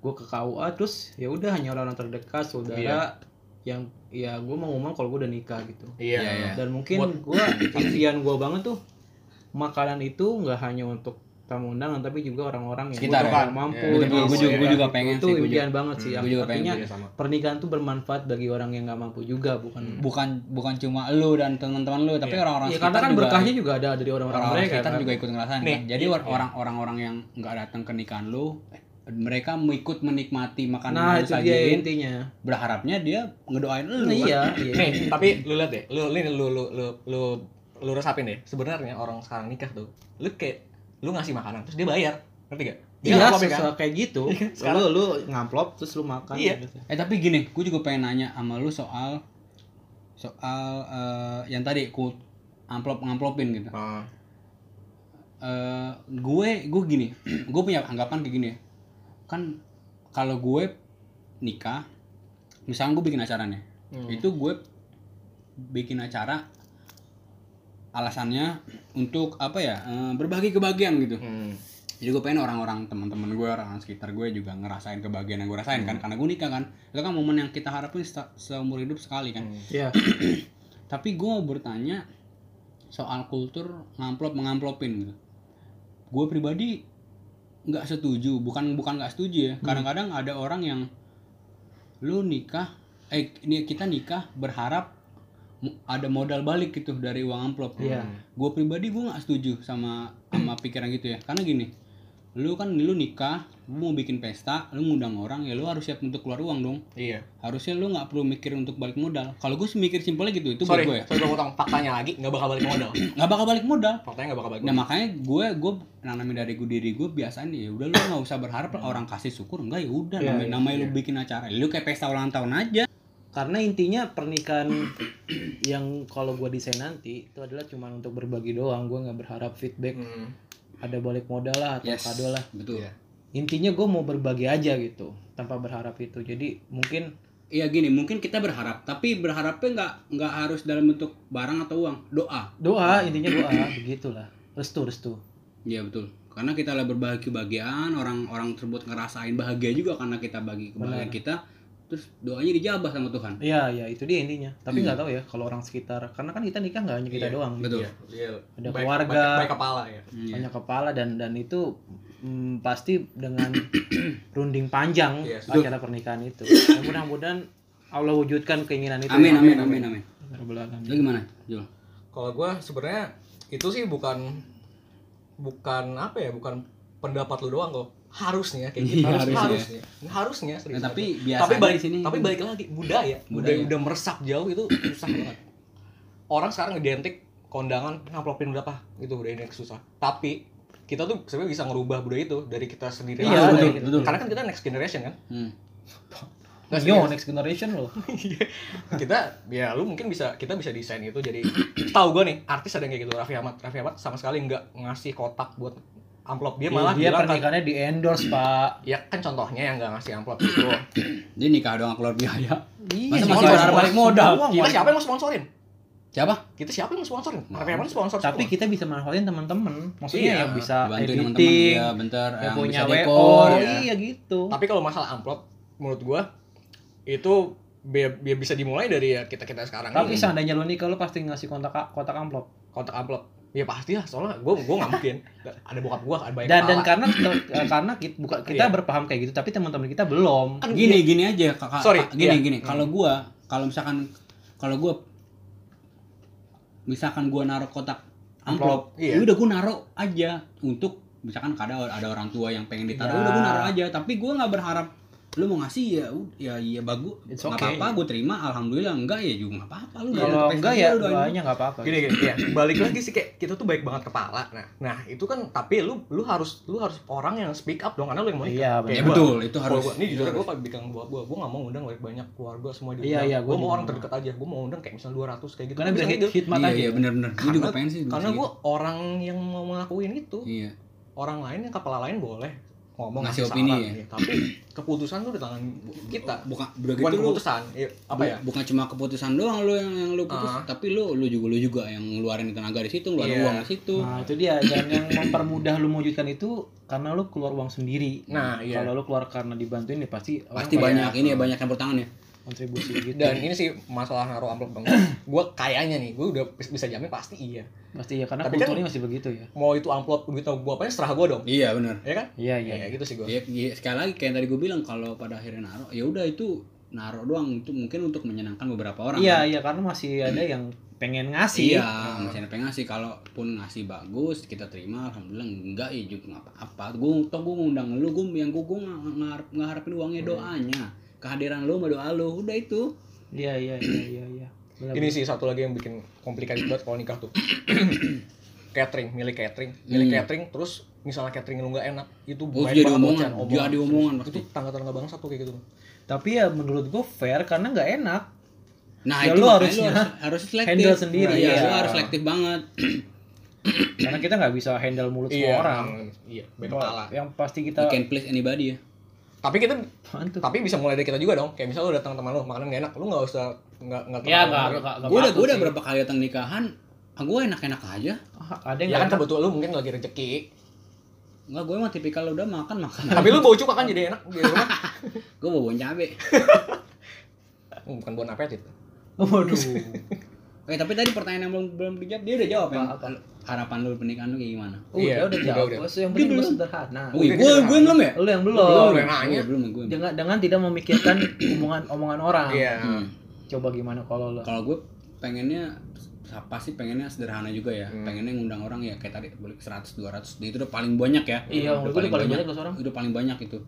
S1: gue ke KUA terus ya udah hanya orang-orang terdekat saudara
S2: Iya.
S1: yang ya gue mau ngomong kalau gue udah nikah gitu
S2: iya
S3: Iya, iya.
S1: dan mungkin gue impian gue banget tuh makanan itu nggak hanya untuk tamu undangan tapi juga orang-orang yang
S3: Sekitar, ya?
S1: kurang
S2: kan?
S1: mampu ya.
S2: Iya,
S3: Betul,
S2: Iya,
S3: gue juga,
S2: iya.
S3: gue juga pengen
S1: itu
S3: sih gue juga.
S1: impian banget sih
S2: Hmm,
S3: gue juga pengen.
S1: artinya
S2: Iya, sama
S1: pernikahan tuh bermanfaat bagi orang yang nggak mampu juga bukan
S3: bukan bukan cuma lu dan teman-teman lu tapi
S2: Iya.
S3: orang-orang
S1: ya
S3: Hmm. sekitar
S1: karena kan
S3: juga-
S1: berkahnya juga ada dari orang-orang
S3: orang-orang
S1: mereka
S3: sekitar
S1: kan.
S3: juga ikut ngerasain
S2: Nih,
S3: kan. Jadi
S2: iya.
S3: orang- orang-orang yang nggak datang ke nikahan lu, eh, mereka ikut menikmati makanan
S1: nah
S3: yang lu
S1: itu dia
S3: sajiin,
S1: intinya
S3: berharapnya dia ngedoain
S1: Nah,
S3: lu. kan.
S1: iya iya
S2: nih tapi lu lihat deh lu lu lu lu lu, lu, lu resapin deh sebenarnya orang sekarang nikah tuh lu kayak lu ngasih makanan terus dia bayar ngerti gak Dia
S1: Iya,
S2: ngamplop ya kan?
S1: susah kayak gitu.
S2: Iya,
S1: Lu
S2: sekarang-
S1: lu ngamplop terus lu makan.
S2: Iya.
S1: gitu.
S3: Eh tapi gini, gue juga pengen nanya sama lu soal soal eh, yang tadi ku amplop ngamplopin gitu.
S2: Ah,
S3: eh gue gue gini gue punya anggapan kayak gini ya kan kalau gue nikah misalnya gue bikin acaranya
S2: Hmm.
S3: itu gue bikin acara alasannya untuk apa ya eh, berbagi kebahagiaan gitu
S2: hmm.
S3: jadi gue pengen orang-orang teman-teman gue orang sekitar gue juga ngerasain kebahagiaan yang gue rasain kan karena gue nikah kan itu kan momen yang kita harapin se- seumur hidup sekali kan
S2: Hmm.
S1: Iya.
S3: tapi gue mau bertanya soal kultur ngamplop mengamplopin gitu gue pribadi nggak setuju bukan bukan nggak setuju ya kadang-kadang ada orang yang lu nikah eh ini kita nikah berharap mu- ada modal balik gitu dari uang amplop
S1: Iya.
S3: gue pribadi gue nggak setuju sama sama pikiran gitu ya karena gini lu kan lu nikah lu mau bikin pesta lu ngundang orang ya lu harus siap untuk keluar uang dong
S2: iya
S3: harusnya lu nggak perlu mikir untuk balik modal kalau gue sih mikir simpelnya gitu itu buat
S2: sorry
S3: gue ya
S2: sorry gue potong faktanya lagi nggak bakal balik modal
S3: nggak bakal balik modal
S2: faktanya nggak bakal balik
S3: nah
S2: modal
S3: makanya gue gue nanamin dari gue diri gue biasanya ya udah lu nggak usah berharap lah orang kasih syukur enggak ya udah
S1: Iya,
S3: namanya,
S1: iya,
S3: namanya lu
S2: iya.
S3: bikin acara lu kayak pesta ulang tahun aja
S1: Karena intinya pernikahan yang kalau gua desain nanti itu adalah cuma untuk berbagi doang. Gua nggak berharap feedback
S2: Hmm.
S1: ada balik modal lah atau kado lah.
S3: betul
S2: Iya.
S1: Intinya gua mau berbagi aja gitu tanpa berharap itu. Jadi mungkin
S3: iya gini mungkin kita berharap tapi berharapnya nggak nggak harus dalam bentuk barang atau uang doa
S1: doa intinya doa begitulah. Restu restu.
S3: iya betul karena kita lah berbagi kebahagiaan orang-orang tersebut ngerasain bahagia juga karena kita bagi kebahagiaan kita terus doanya dijabah sama Tuhan
S1: Iya ya itu dia intinya. Tapi
S3: Iya.
S1: nggak tahu ya kalau orang sekitar karena kan kita nikah nggak hanya kita
S2: Iya,
S1: doang.
S3: betul
S2: Iya, iya.
S1: Ada
S2: Baik-
S1: keluarga.
S2: baik- baik kepala ya
S3: Iya.
S1: banyak kepala dan dan itu mm, pasti dengan runding panjang
S3: Iya,
S2: Yes.
S1: acara pernikahan itu. Dan mudah-mudahan Allah wujudkan keinginan itu.
S3: amin amin amin amin
S1: Ya Rabbal
S3: lu
S1: Alamin.
S3: gimana Jul Nah,
S2: kalau gue sebenarnya itu sih bukan bukan apa ya bukan pendapat lu doang kok harusnya kayak gitu
S3: Iya,
S2: harus,
S3: harusnya.
S2: harusnya harusnya serius
S3: Nah, tapi biasanya
S2: tapi balik
S3: di sini
S2: tapi balik lagi budaya budaya
S3: Budaya.
S2: udah meresap jauh itu susah banget orang sekarang identik kondangan ngamplopin berapa itu udah ini susah tapi kita tuh sebenarnya bisa ngerubah budaya itu dari kita sendiri
S1: Iya,
S2: langsung.
S1: betul, betul.
S2: karena kan kita next generation kan
S3: Hmm.
S2: Nggak
S1: Yo,
S2: serius.
S1: next generation loh.
S2: kita ya lu mungkin bisa kita bisa desain itu jadi tahu gua nih artis ada yang kayak gitu Raffi Ahmad Raffi Ahmad sama sekali nggak ngasih kotak buat amplop dia malah
S1: Iya, dia
S2: bilang kan,
S1: pernikahannya di endorse, Pak.
S2: ya kan contohnya yang nggak ngasih amplop gitu. itu
S3: Dia nikah doang keluar biaya.
S1: Iya,
S3: masih berharap balik modal?
S2: kita siapa yang mau sponsorin
S3: Siapa?
S2: kita siapa yang mau sponsorin
S3: Nah.
S2: Raffi Ahmad sponsor
S1: Tapi
S2: semua.
S1: kita bisa manfaatin teman-teman. Maksudnya
S2: Iya,
S1: yang bisa
S3: Bantuin
S1: editing,
S3: teman-teman dia bentar
S1: yang
S3: yang
S1: punya
S3: bisa
S1: WO.
S3: dekor.
S2: ya.
S1: Iya gitu.
S2: tapi kalau masalah amplop menurut gua itu bi- bi- bisa dimulai dari ya kita kita sekarang
S1: Tapi
S2: ini
S1: seandainya lu nikah lu pasti ngasih kontak kotak amplop.
S2: kotak amplop ya pastilah soalnya gua gua nggak mungkin ada bokap gua ada banyak
S1: Dan dan
S2: kepala.
S1: karena karena kita, bukan- kita
S2: Iya.
S1: berpaham kayak gitu, tapi teman-teman kita belum.
S2: Kan
S3: Gini gini aja kakak.
S2: Sorry,
S3: Kak, gini
S2: iya.
S3: gini. Kalau gua kalau misalkan kalau gua misalkan gua naruh kotak amplop,
S2: Amplop, iya.
S3: ya udah gua naruh aja untuk misalkan kadang ada orang tua yang pengen ditaruh,
S1: Ya.
S3: udah gua naruh aja. Tapi gua nggak berharap lu mau ngasih ya ud- ya ya bagus
S1: It's
S3: nggak
S1: okay.
S3: apa-apa gue terima alhamdulillah enggak ya juga nggak apa-apa lu
S1: Kalau enggak ya doanya nggak apa-apa.
S2: gini gini ya balik lagi sih kayak kita tuh baik banget kepala nah nah itu kan tapi lu lu harus lu harus orang yang speak up dong karena lu yang mau nikah.
S1: Iya,
S2: Kayak
S3: ya
S1: benar.
S2: gua-
S3: betul itu harus
S2: Kalau gua, ini jujur gue bilang gua gua gua nggak mau undang banyak banyak keluarga semua di
S1: Iya, iya, gua
S2: gua mau
S1: juga
S2: orang
S1: nggak
S2: terdekat aja gua mau undang kayak misal 200 kayak gitu
S1: Karena
S2: Gua
S1: bisa
S2: bisa
S1: hit-
S2: gitu.
S1: hikmat
S3: iya
S1: aja.
S3: iya bener-bener gue
S2: Karena-
S3: juga pengen sih gitu.
S2: karena
S3: gua
S2: gua orang yang mau ngelakuin itu
S3: iya
S2: orang lain yang kepala lain boleh ngomong
S3: Ngasih
S2: ngasih
S3: opini
S2: saran, tapi keputusan tuh di tangan kita
S3: bukan udah
S2: bukan
S3: gitu lu
S2: keputusan ya, apa
S3: bu-
S2: ya
S3: bukan cuma keputusan doang lu yang, yang lu putus
S2: Ah.
S3: tapi lu lu juga lu juga yang ngeluarin tenaga di situ ngeluarin
S2: Iya.
S3: uang di situ
S1: Nah, itu dia dan yang mempermudah lu mewujudkan itu karena lu keluar uang sendiri.
S2: Nah, iya.
S1: Kalau lu keluar karena dibantuin ya pasti orang
S3: pasti
S1: kayak
S3: banyak ini ya
S2: Ah.
S3: banyak campur tangan ya
S1: kontribusi gitu.
S2: dan ini sih masalah naruh amplop banget gue kayaknya nih gue udah bis- bisa jamin pasti iya
S1: pasti ya karena
S2: Tapi kan-
S1: kulturnya masih begitu ya.
S2: mau itu amplop duit atau gue apa serah gue dong
S3: iya bener
S2: ya kan
S1: Iya, iya.
S2: ya, gitu sih gue
S3: Ya, ya, sekali lagi kayak yang tadi gue bilang kalau pada akhirnya naruh ya udah itu naruh doang itu mungkin untuk menyenangkan beberapa orang
S1: Iya,
S3: kan?
S1: iya karena masih ada yang pengen ngasih.
S3: iya
S2: Ah.
S3: masih ada yang ngasih kalaupun ngasih bagus kita terima alhamdulillah enggak ya juga nggak apa-apa gue toh gue ngundang lu gue yang gue gue nggak ngarep- nggak harapin uangnya
S2: Hmm.
S3: doanya kehadiran lu sama doa lu udah itu
S1: Iya, iya, iya, iya, iya. Benar,
S2: ini
S1: benar.
S2: sih satu lagi yang bikin komplikasi banget kalau nikah tuh catering milih catering milih
S3: Hmm.
S2: catering terus misalnya catering lu nggak enak itu
S3: Oh,
S2: banyak
S3: jadi
S2: banget
S3: omongan.
S2: bacaan,
S3: Jadi omongan pasti.
S2: itu tangga-tangga bangsa tuh kayak gitu
S1: Tapi ya menurut gue fair karena nggak enak.
S3: nah
S1: Ya,
S3: itu
S1: lu
S3: makanya
S1: harusnya
S3: harus, harus selektif
S1: handle sendiri,
S3: iya,
S1: iya.
S3: lu harus selektif banget
S1: karena kita nggak bisa handle mulut semua orang.
S2: iya beda kepala
S1: Yang pasti
S3: you
S1: kita
S3: can please anybody ya
S2: tapi kita
S1: Apaan tuh?
S2: tapi bisa mulai dari kita juga dong kayak misal lu datang teman lu makanan gak enak lu nggak usah nggak nggak
S3: Iya,
S1: Ya,
S2: terlalu
S1: nggak-
S2: ngomongin.
S1: nggak- nggak
S3: gue udah
S1: patut
S3: gue udah
S1: sih.
S3: berapa kali datang nikahan ah, gue enak-enak aja
S1: Ah, ada yang
S3: Iya.
S2: ya kan
S1: nggak enak.
S2: kebetulan lu mungkin lagi rezeki
S3: Enggak, gue emang tipikal udah makan makan.
S2: tapi lu bau cuka kan jadi enak di rumah
S3: gue bawa cabe.
S2: bukan bon apetit
S1: Waduh.
S3: Oke, Eh, tapi tadi pertanyaan yang belum belum dijawab, dia udah jawab
S1: Apa,
S3: yang
S1: apa?
S3: harapan lu pernikahan lu kayak gimana?
S1: Udah,
S2: Iya,
S1: udah
S2: udah,
S1: jawab.
S2: udah.
S1: Yang
S3: Dia
S1: penting lu
S3: belum.
S1: sederhana.
S3: Oh,
S2: udah
S3: gue gue
S2: dijawab.
S3: belum ya?
S1: Lu yang
S2: Belum,
S1: belum.
S2: yang nanya.
S3: Iya, belum gue. belum.
S1: Dengan dengan tidak memikirkan omongan omongan orang.
S2: iya
S3: Hmm.
S1: Coba gimana kalau lu?
S3: Kalau gue pengennya apa sih pengennya sederhana juga ya.
S2: Hmm.
S3: Pengennya ngundang orang ya kayak tadi balik 100 200. Itu udah paling banyak ya.
S1: Iya, menurut gue
S3: udah paling
S1: udah paling
S3: banyak.
S1: banyak loh seorang.
S3: Udah paling banyak itu.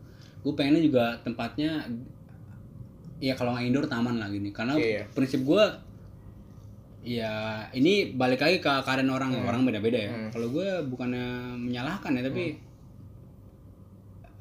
S3: Gue pengennya juga tempatnya ya kalau nggak indoor taman lah gini. Karena
S2: Iya.
S3: prinsip gue ya ini balik lagi ke keadaan orang
S2: Hmm.
S3: orang beda-beda ya.
S2: Hmm.
S3: Kalau gue bukannya menyalahkan ya tapi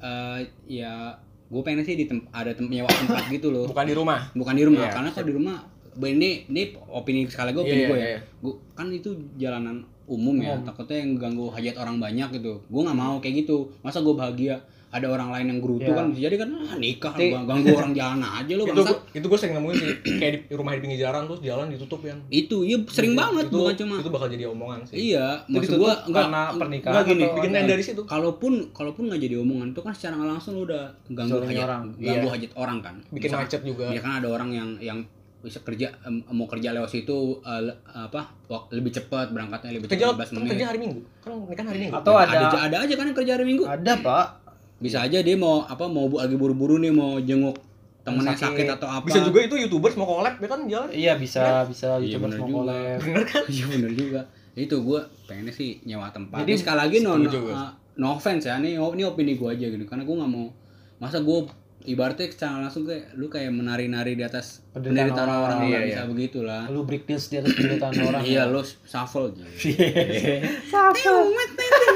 S2: Hmm.
S3: eh, ya gue pengen sih di tem- ada tem- nyewa tempat gitu loh.
S2: bukan di rumah
S3: Bukan di rumah
S2: Iya.
S3: karena kalau di rumah ini ini opini sekali gue opini
S2: Iya,
S3: gue
S2: iya,
S3: ya.
S2: iya.
S3: Gua, kan itu jalanan umum ya.
S1: Umum.
S3: Takutnya yang ganggu hajat orang banyak gitu. Gue nggak mau kayak gitu. Masa gue bahagia ada orang lain yang gerutu
S1: Iya.
S3: kan bisa jadi kan ah, nikah
S1: Ti-
S3: gua- ganggu orang jalan aja lo
S2: itu
S3: bangsa.
S2: gua- itu gue sering nemuin sih kayak di rumah di pinggir jalan terus jalan ditutup yang
S3: Itu iya sering banget
S2: itu,
S3: bukan cuma
S2: itu bakal jadi omongan sih
S1: Itu
S3: Iya, maksud
S1: ditutup
S3: gua enggak
S1: karena pernikahan
S3: enggak gini,
S1: atau-
S2: bikin tenda di situ
S3: kalaupun kalaupun nggak jadi omongan itu kan secara nggak langsung lu udah ganggu
S1: Zolimi
S3: hajat
S1: orang.
S3: orang, ganggu hajat orang kan.
S2: bikin
S3: Misalkan-
S2: macet juga
S1: Iya,
S3: Ya kan ada orang yang yang bisa kerja em, mau kerja lewat situ eh, le- apa wak- lebih cepat berangkatnya lebih
S2: kerja
S3: cepat 15
S2: kan kerja
S3: menit.
S2: hari minggu kan nikah hari minggu
S1: Atau
S3: ada,
S1: ada
S3: ada aja kan yang kerja hari Minggu.
S1: ada, Pak.
S3: Bisa aja dia mau apa mau bu- lagi buru-buru nih mau jenguk temennya
S1: Sakit.
S3: sakit. atau apa.
S2: bisa juga itu youtubers mau collab ya kan jalan
S1: Iya, bisa bisa
S3: Iya,
S1: YouTuber
S3: bener
S1: semua
S3: juga.
S1: collab.
S3: Iya bener juga. Itu gue pengennya sih nyewa tempat.
S1: Jadi,
S3: Jadi sekali lagi no, no,
S2: setuju gua.
S3: uh, no offense ya, ini, ini opini gue aja gitu. Karena gue nggak mau masa gue ibaratnya secara langsung kayak lu kayak menari-nari di atas
S1: Penderitaan
S3: penderitaan
S1: orang.
S3: orang, nggak
S2: Iya,
S3: bisa begitulah.
S1: Lu break deals di atas penderitaan orang. ya.
S3: Iya lu shuffle aja.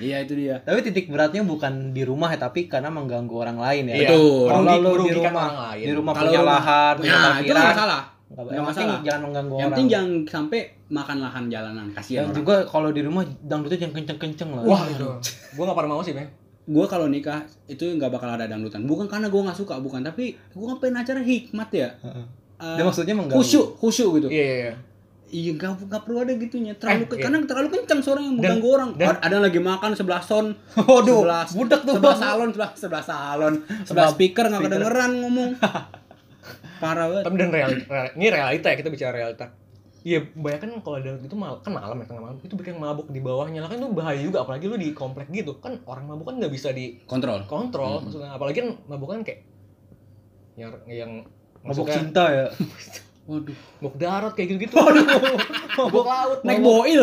S3: Iya itu dia.
S1: Tapi titik beratnya bukan di rumah ya, tapi karena mengganggu orang lain ya.
S2: Iya.
S3: Betul.
S1: Kalau
S2: Merugi-
S1: lu di
S2: merugikan
S1: rumah,
S2: orang lain.
S1: di rumah
S3: Kalau
S1: punya
S3: rumah-
S1: lahan, punya
S3: Nah, itu nggak
S1: parkiran,
S3: masalah.
S1: nggak-
S3: nggak
S1: yang penting
S3: masalah.
S1: jangan mengganggu
S3: Yang
S1: orang.
S3: penting jangan Iya. sampai makan lahan jalanan kasihan.
S1: Dan
S3: orang.
S1: juga kalau di rumah dangdutnya jangan kenceng-kenceng lah.
S2: wah itu gue gak gitu. pernah mau sih men
S3: gue kalau nikah itu nggak bakal ada dangdutan bukan karena gue nggak suka bukan tapi gue ngapain acara hikmat ya
S1: Heeh.
S3: Eh,
S1: Dia maksudnya mengganggu.
S3: khusyuk khusyuk gitu
S2: iya iya iya
S3: iya nggak nggak perlu ada gitunya
S1: Eh,
S3: terlalu ke-
S2: iya.
S3: karena terlalu kencang suara
S2: Dan-
S3: yang mengganggu orang
S2: dan-
S3: ada yang lagi makan sebelah sound
S1: Waduh,
S3: sebelah
S1: budak tuh,
S3: sebelah
S1: Bang.
S3: salon sebelah sebelah salon sebelah speaker nggak
S1: speaker.
S3: kedengeran ngomong parah banget
S2: tapi dan realita ini realita ya kita bicara realita Iya, banyak kan kalau ada itu mal kan malam ya tengah malam itu bikin mabuk di bawahnya lah kan itu bahaya juga apalagi lu di komplek gitu kan orang mabuk kan nggak bisa
S3: kontrol
S2: dikontrol
S3: Hmm.
S2: maksudnya apalagi kan mabuk kan kayak yang yang
S1: Mabuk
S2: maksudnya
S1: cinta ya.
S3: waduh
S2: mabuk darat kayak gitu gitu mabuk laut
S3: naik
S2: mabuk
S3: boil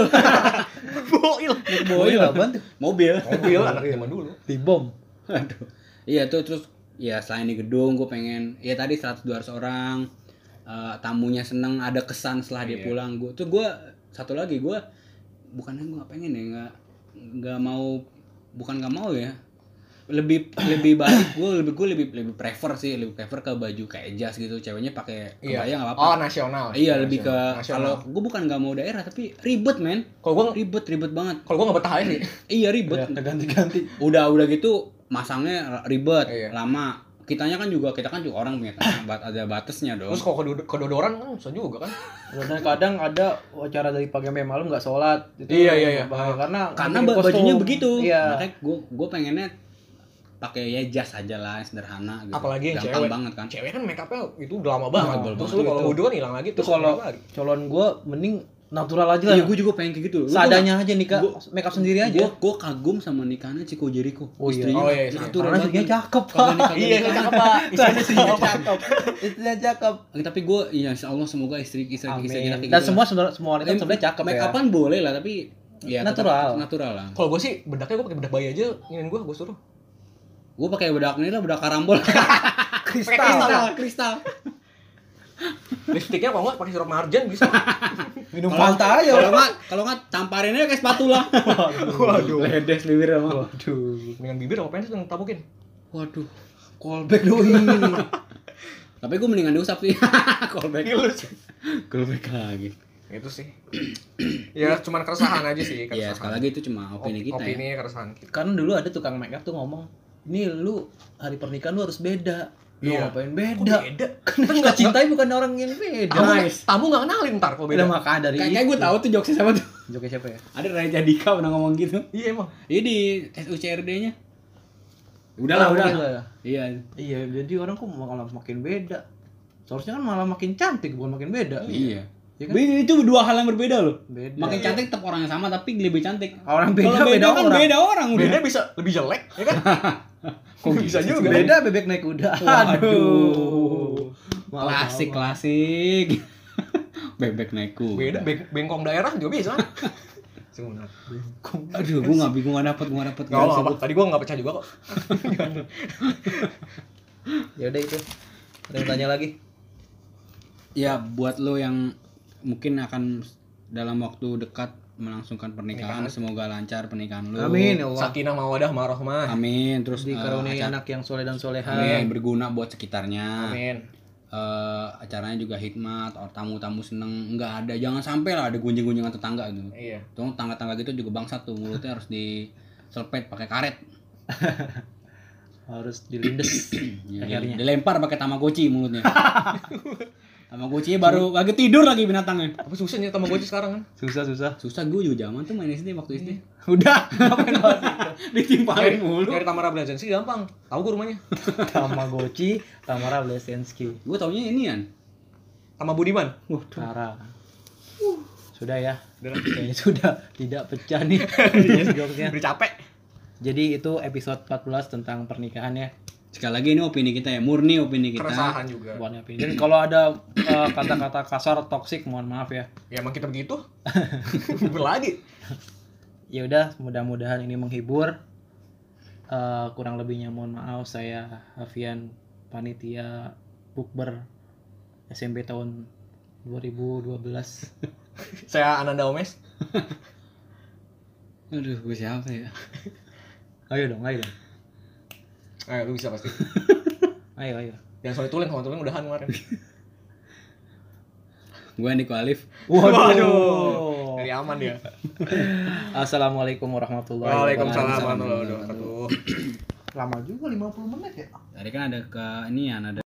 S2: boil
S3: naik
S1: Boil
S3: boil
S1: Iya. apaan tuh?
S3: mobil
S2: Iya. mobil anak zaman dulu
S1: Di bom.
S3: Aduh. Iya tuh terus ya selain di gedung gue pengen ya tadi 100-200 orang eh, tamunya seneng ada kesan setelah dia
S2: Iya.
S3: pulang gue tuh gue satu lagi gue bukannya gue nggak pengen ya nggak nggak mau bukan nggak mau ya lebih lebih baik gue lebih gue lebih lebih prefer sih lebih prefer ke baju kayak jas gitu ceweknya pakai
S2: Iya.
S3: kebaya nggak apa-apa
S2: Oh nasional.
S3: Iya lebih ke
S2: Nasional. nasional.
S3: kalau gue bukan nggak mau daerah tapi ribet men
S2: Kalau gue
S3: ribet ribet banget
S2: kalau gue nggak betah aja sih.
S3: iya ribet
S1: Udah ganti-ganti.
S3: udah udah gitu masangnya ribet
S2: Iya.
S3: lama kitanya kan juga kita kan juga orang punya tanah, bat- ada batasnya dong
S2: Terus kalau kedodo- kedodoran kan susah juga kan.
S1: Dan kadang ada acara dari pagi sampai malam nggak sholat. Itu
S2: Iya, iya, iya.
S1: bahaya. Karena
S3: karena
S1: bikin
S3: ba-
S1: kostum.
S3: bajunya begitu
S1: Iya.
S3: makanya gue gue pengennya pakai ya jas aja lah yang sederhana gitu
S2: Apalagi yang
S3: gampang
S2: cewek.
S3: banget kan
S2: Cewek kan make up-nya itu udah lama banget.
S3: Tebel
S2: Terus
S1: banget.
S2: lu kalau
S1: Itu-
S2: wudhu kan hilang lagi
S1: itu
S2: terus
S1: kalau-
S2: make up lagi.
S1: Calon gue mending natural aja lah.
S3: iya gue juga pengen kayak gitu
S1: Seadanya aja nikah,
S3: gua-
S1: make up sendiri aja.
S3: gue gue kagum sama nikahnya Chico Jericho
S1: Oh iya.
S3: istrinya
S2: Oh iya, istrinya.
S3: natural
S1: Karena dia
S3: banget
S1: cakep.
S3: Kagak nikah, kagak
S2: Iya,
S3: nikah.
S2: cakep Pak. Isinya cakep.
S1: cakep. Istrinya cakep.
S3: Eh, tapi gue ya insya Allah semoga istri istri, istri kita
S1: Amin.
S3: kayak
S1: Dan
S3: gitu
S1: semua saudara- semua wanita
S3: Eh,
S1: sebenarnya cakep
S3: make
S1: ya.
S3: upan boleh lah tapi ya tetap
S1: Natural.
S3: natural lah
S2: Kalau gue sih bedaknya gue pakai bedak bayi aja, ingin gue gue suruh.
S3: gue pakai bedak ini lah bedak karambol
S2: Pakai kristal.
S3: kristal kristal
S2: Lipstiknya kalau nggak pakai sirup marjan bisa.
S1: Minum
S3: Kalau-
S1: Fanta aja.
S3: kalau nggak kalau nggak tamparinnya kayak spatula
S2: Waduh.
S3: ledes bibir sama
S1: Waduh.
S2: Dengan bibir sama pensil yang tabukin.
S3: waduh
S1: Callback doi.
S3: tapi gue mendingan diusap sih callback callback lagi
S2: Itu sih. ya cuman keresahan aja sih,
S3: ya sekali lagi itu cuma opini kita ya
S2: Opini keresahan kita.
S1: Karena dulu ada tukang make up tuh ngomong, "Ini lu hari pernikahan lu harus beda." Lu
S2: Iya.
S1: ngapain
S2: Kok
S1: beda?
S2: beda?
S1: Kan kita cintai bukan orang yang beda.
S2: Tamu,
S3: Nice.
S2: tamu nggak kenalin ntar kalau beda.
S1: Udah maka dari
S3: kayak gue tahu tuh jokesnya sama tuh
S1: Joki siapa ya?
S3: ada Raja Dika pernah ngomong gitu
S2: Iya emang.
S3: ini di tes UCRD nya udahlah
S1: Oh,
S3: udah
S1: udah.
S3: iya
S1: Iya, jadi orang kok malah makin beda. Seharusnya kan malah makin cantik bukan makin beda.
S3: iya
S1: Iya kan?
S3: Be- itu dua hal yang berbeda loh
S1: Beda.
S3: Makin cantik tetap orang yang sama tapi lebih cantik.
S1: Orang beda,
S3: Kalau
S1: beda
S3: kan
S1: orang.
S3: beda orang udah.
S2: Beda bisa lebih jelek, ya kan?
S3: Kok
S2: bisa
S3: gitu sih?
S2: juga.
S1: Beda bebek naik kuda.
S3: Waduh.
S1: Aduh.
S3: Klasik, klasik. Bebek naik kuda.
S2: Beda beng- bengkong daerah juga bisa. Sebenarnya.
S3: Aduh, gua enggak bingung enggak dapet, gua enggak dapet.
S2: Gak apa apa. Tadi gua nggak pecah juga kok.
S1: Ya udah itu. Ada yang tanya lagi?
S3: Ya, buat lo yang mungkin akan dalam waktu dekat melangsungkan pernikahan, semoga lancar pernikahan lo.
S1: Amin ya Allah.
S2: Sakinah mawadah marahmah.
S3: Amin, terus eh,
S1: Dikaruniai
S3: acara-
S1: anak yang soleh dan soleha.
S3: Amin, berguna buat sekitarnya.
S2: Amin.
S3: Eh, acaranya juga hikmat, or tamu-tamu seneng, nggak ada, jangan sampai lah ada gunjing-gunjingan tetangga gitu.
S2: Iya.
S3: Tuh tangga-tangga gitu juga bangsa tuh mulutnya harus diselpet pakai karet.
S1: Harus dilindes.
S3: Ya,
S1: Akhirnya.
S3: dilempar pakai tamagotchi mulutnya. tamagotchi baru lagi tidur lagi binatangnya.
S2: Tapi susah nih sama gue sekarang kan.
S1: Susah susah.
S3: Susah gue juga zaman tuh main SD waktu SD.
S1: Udah.
S3: Ditimpalin mulu.
S2: Nyari Tamara Blazinski gampang. Tahu gue rumahnya.
S1: Tamagotchi, Tamara Blesensky.
S3: Gue taunya ini kan.
S2: Sama Budiman.
S1: Tara. Sudah ya.
S2: Udah lah.
S1: Kayaknya sudah tidak pecah nih. jokesnya.
S2: Udah capek.
S1: Jadi itu episode 14 tentang pernikahan ya.
S3: Sekali lagi ini opini kita ya, murni opini kita.
S2: Keresahan juga.
S1: Buat ngapain. Dan kalau ada eh, kata-kata kasar toksik mohon maaf ya.
S2: Ya emang kita begitu. Berlagi.
S1: Ya udah mudah-mudahan ini menghibur. Eh, kurang lebihnya mohon maaf saya Hafian panitia bukber SMP tahun 2012.
S2: Saya Ananda Omes.
S3: Aduh, gue siapa ya?
S1: Ayo dong, ayo dong.
S2: Eh, lu bisa pasti.
S1: Ayo ayo.
S2: Jangan soal tulen, sama tulen udahan kemarin.
S3: Gue Niko Alif.
S1: Oh.
S2: Waduh. Dari aman dia.
S1: Assalamualaikum warahmatullahi
S2: Waalaikumsalam warahmatullahi wabarakatuh.
S1: Lama juga 50 menit ya.
S3: Tadi kan ada ke ini ya, ada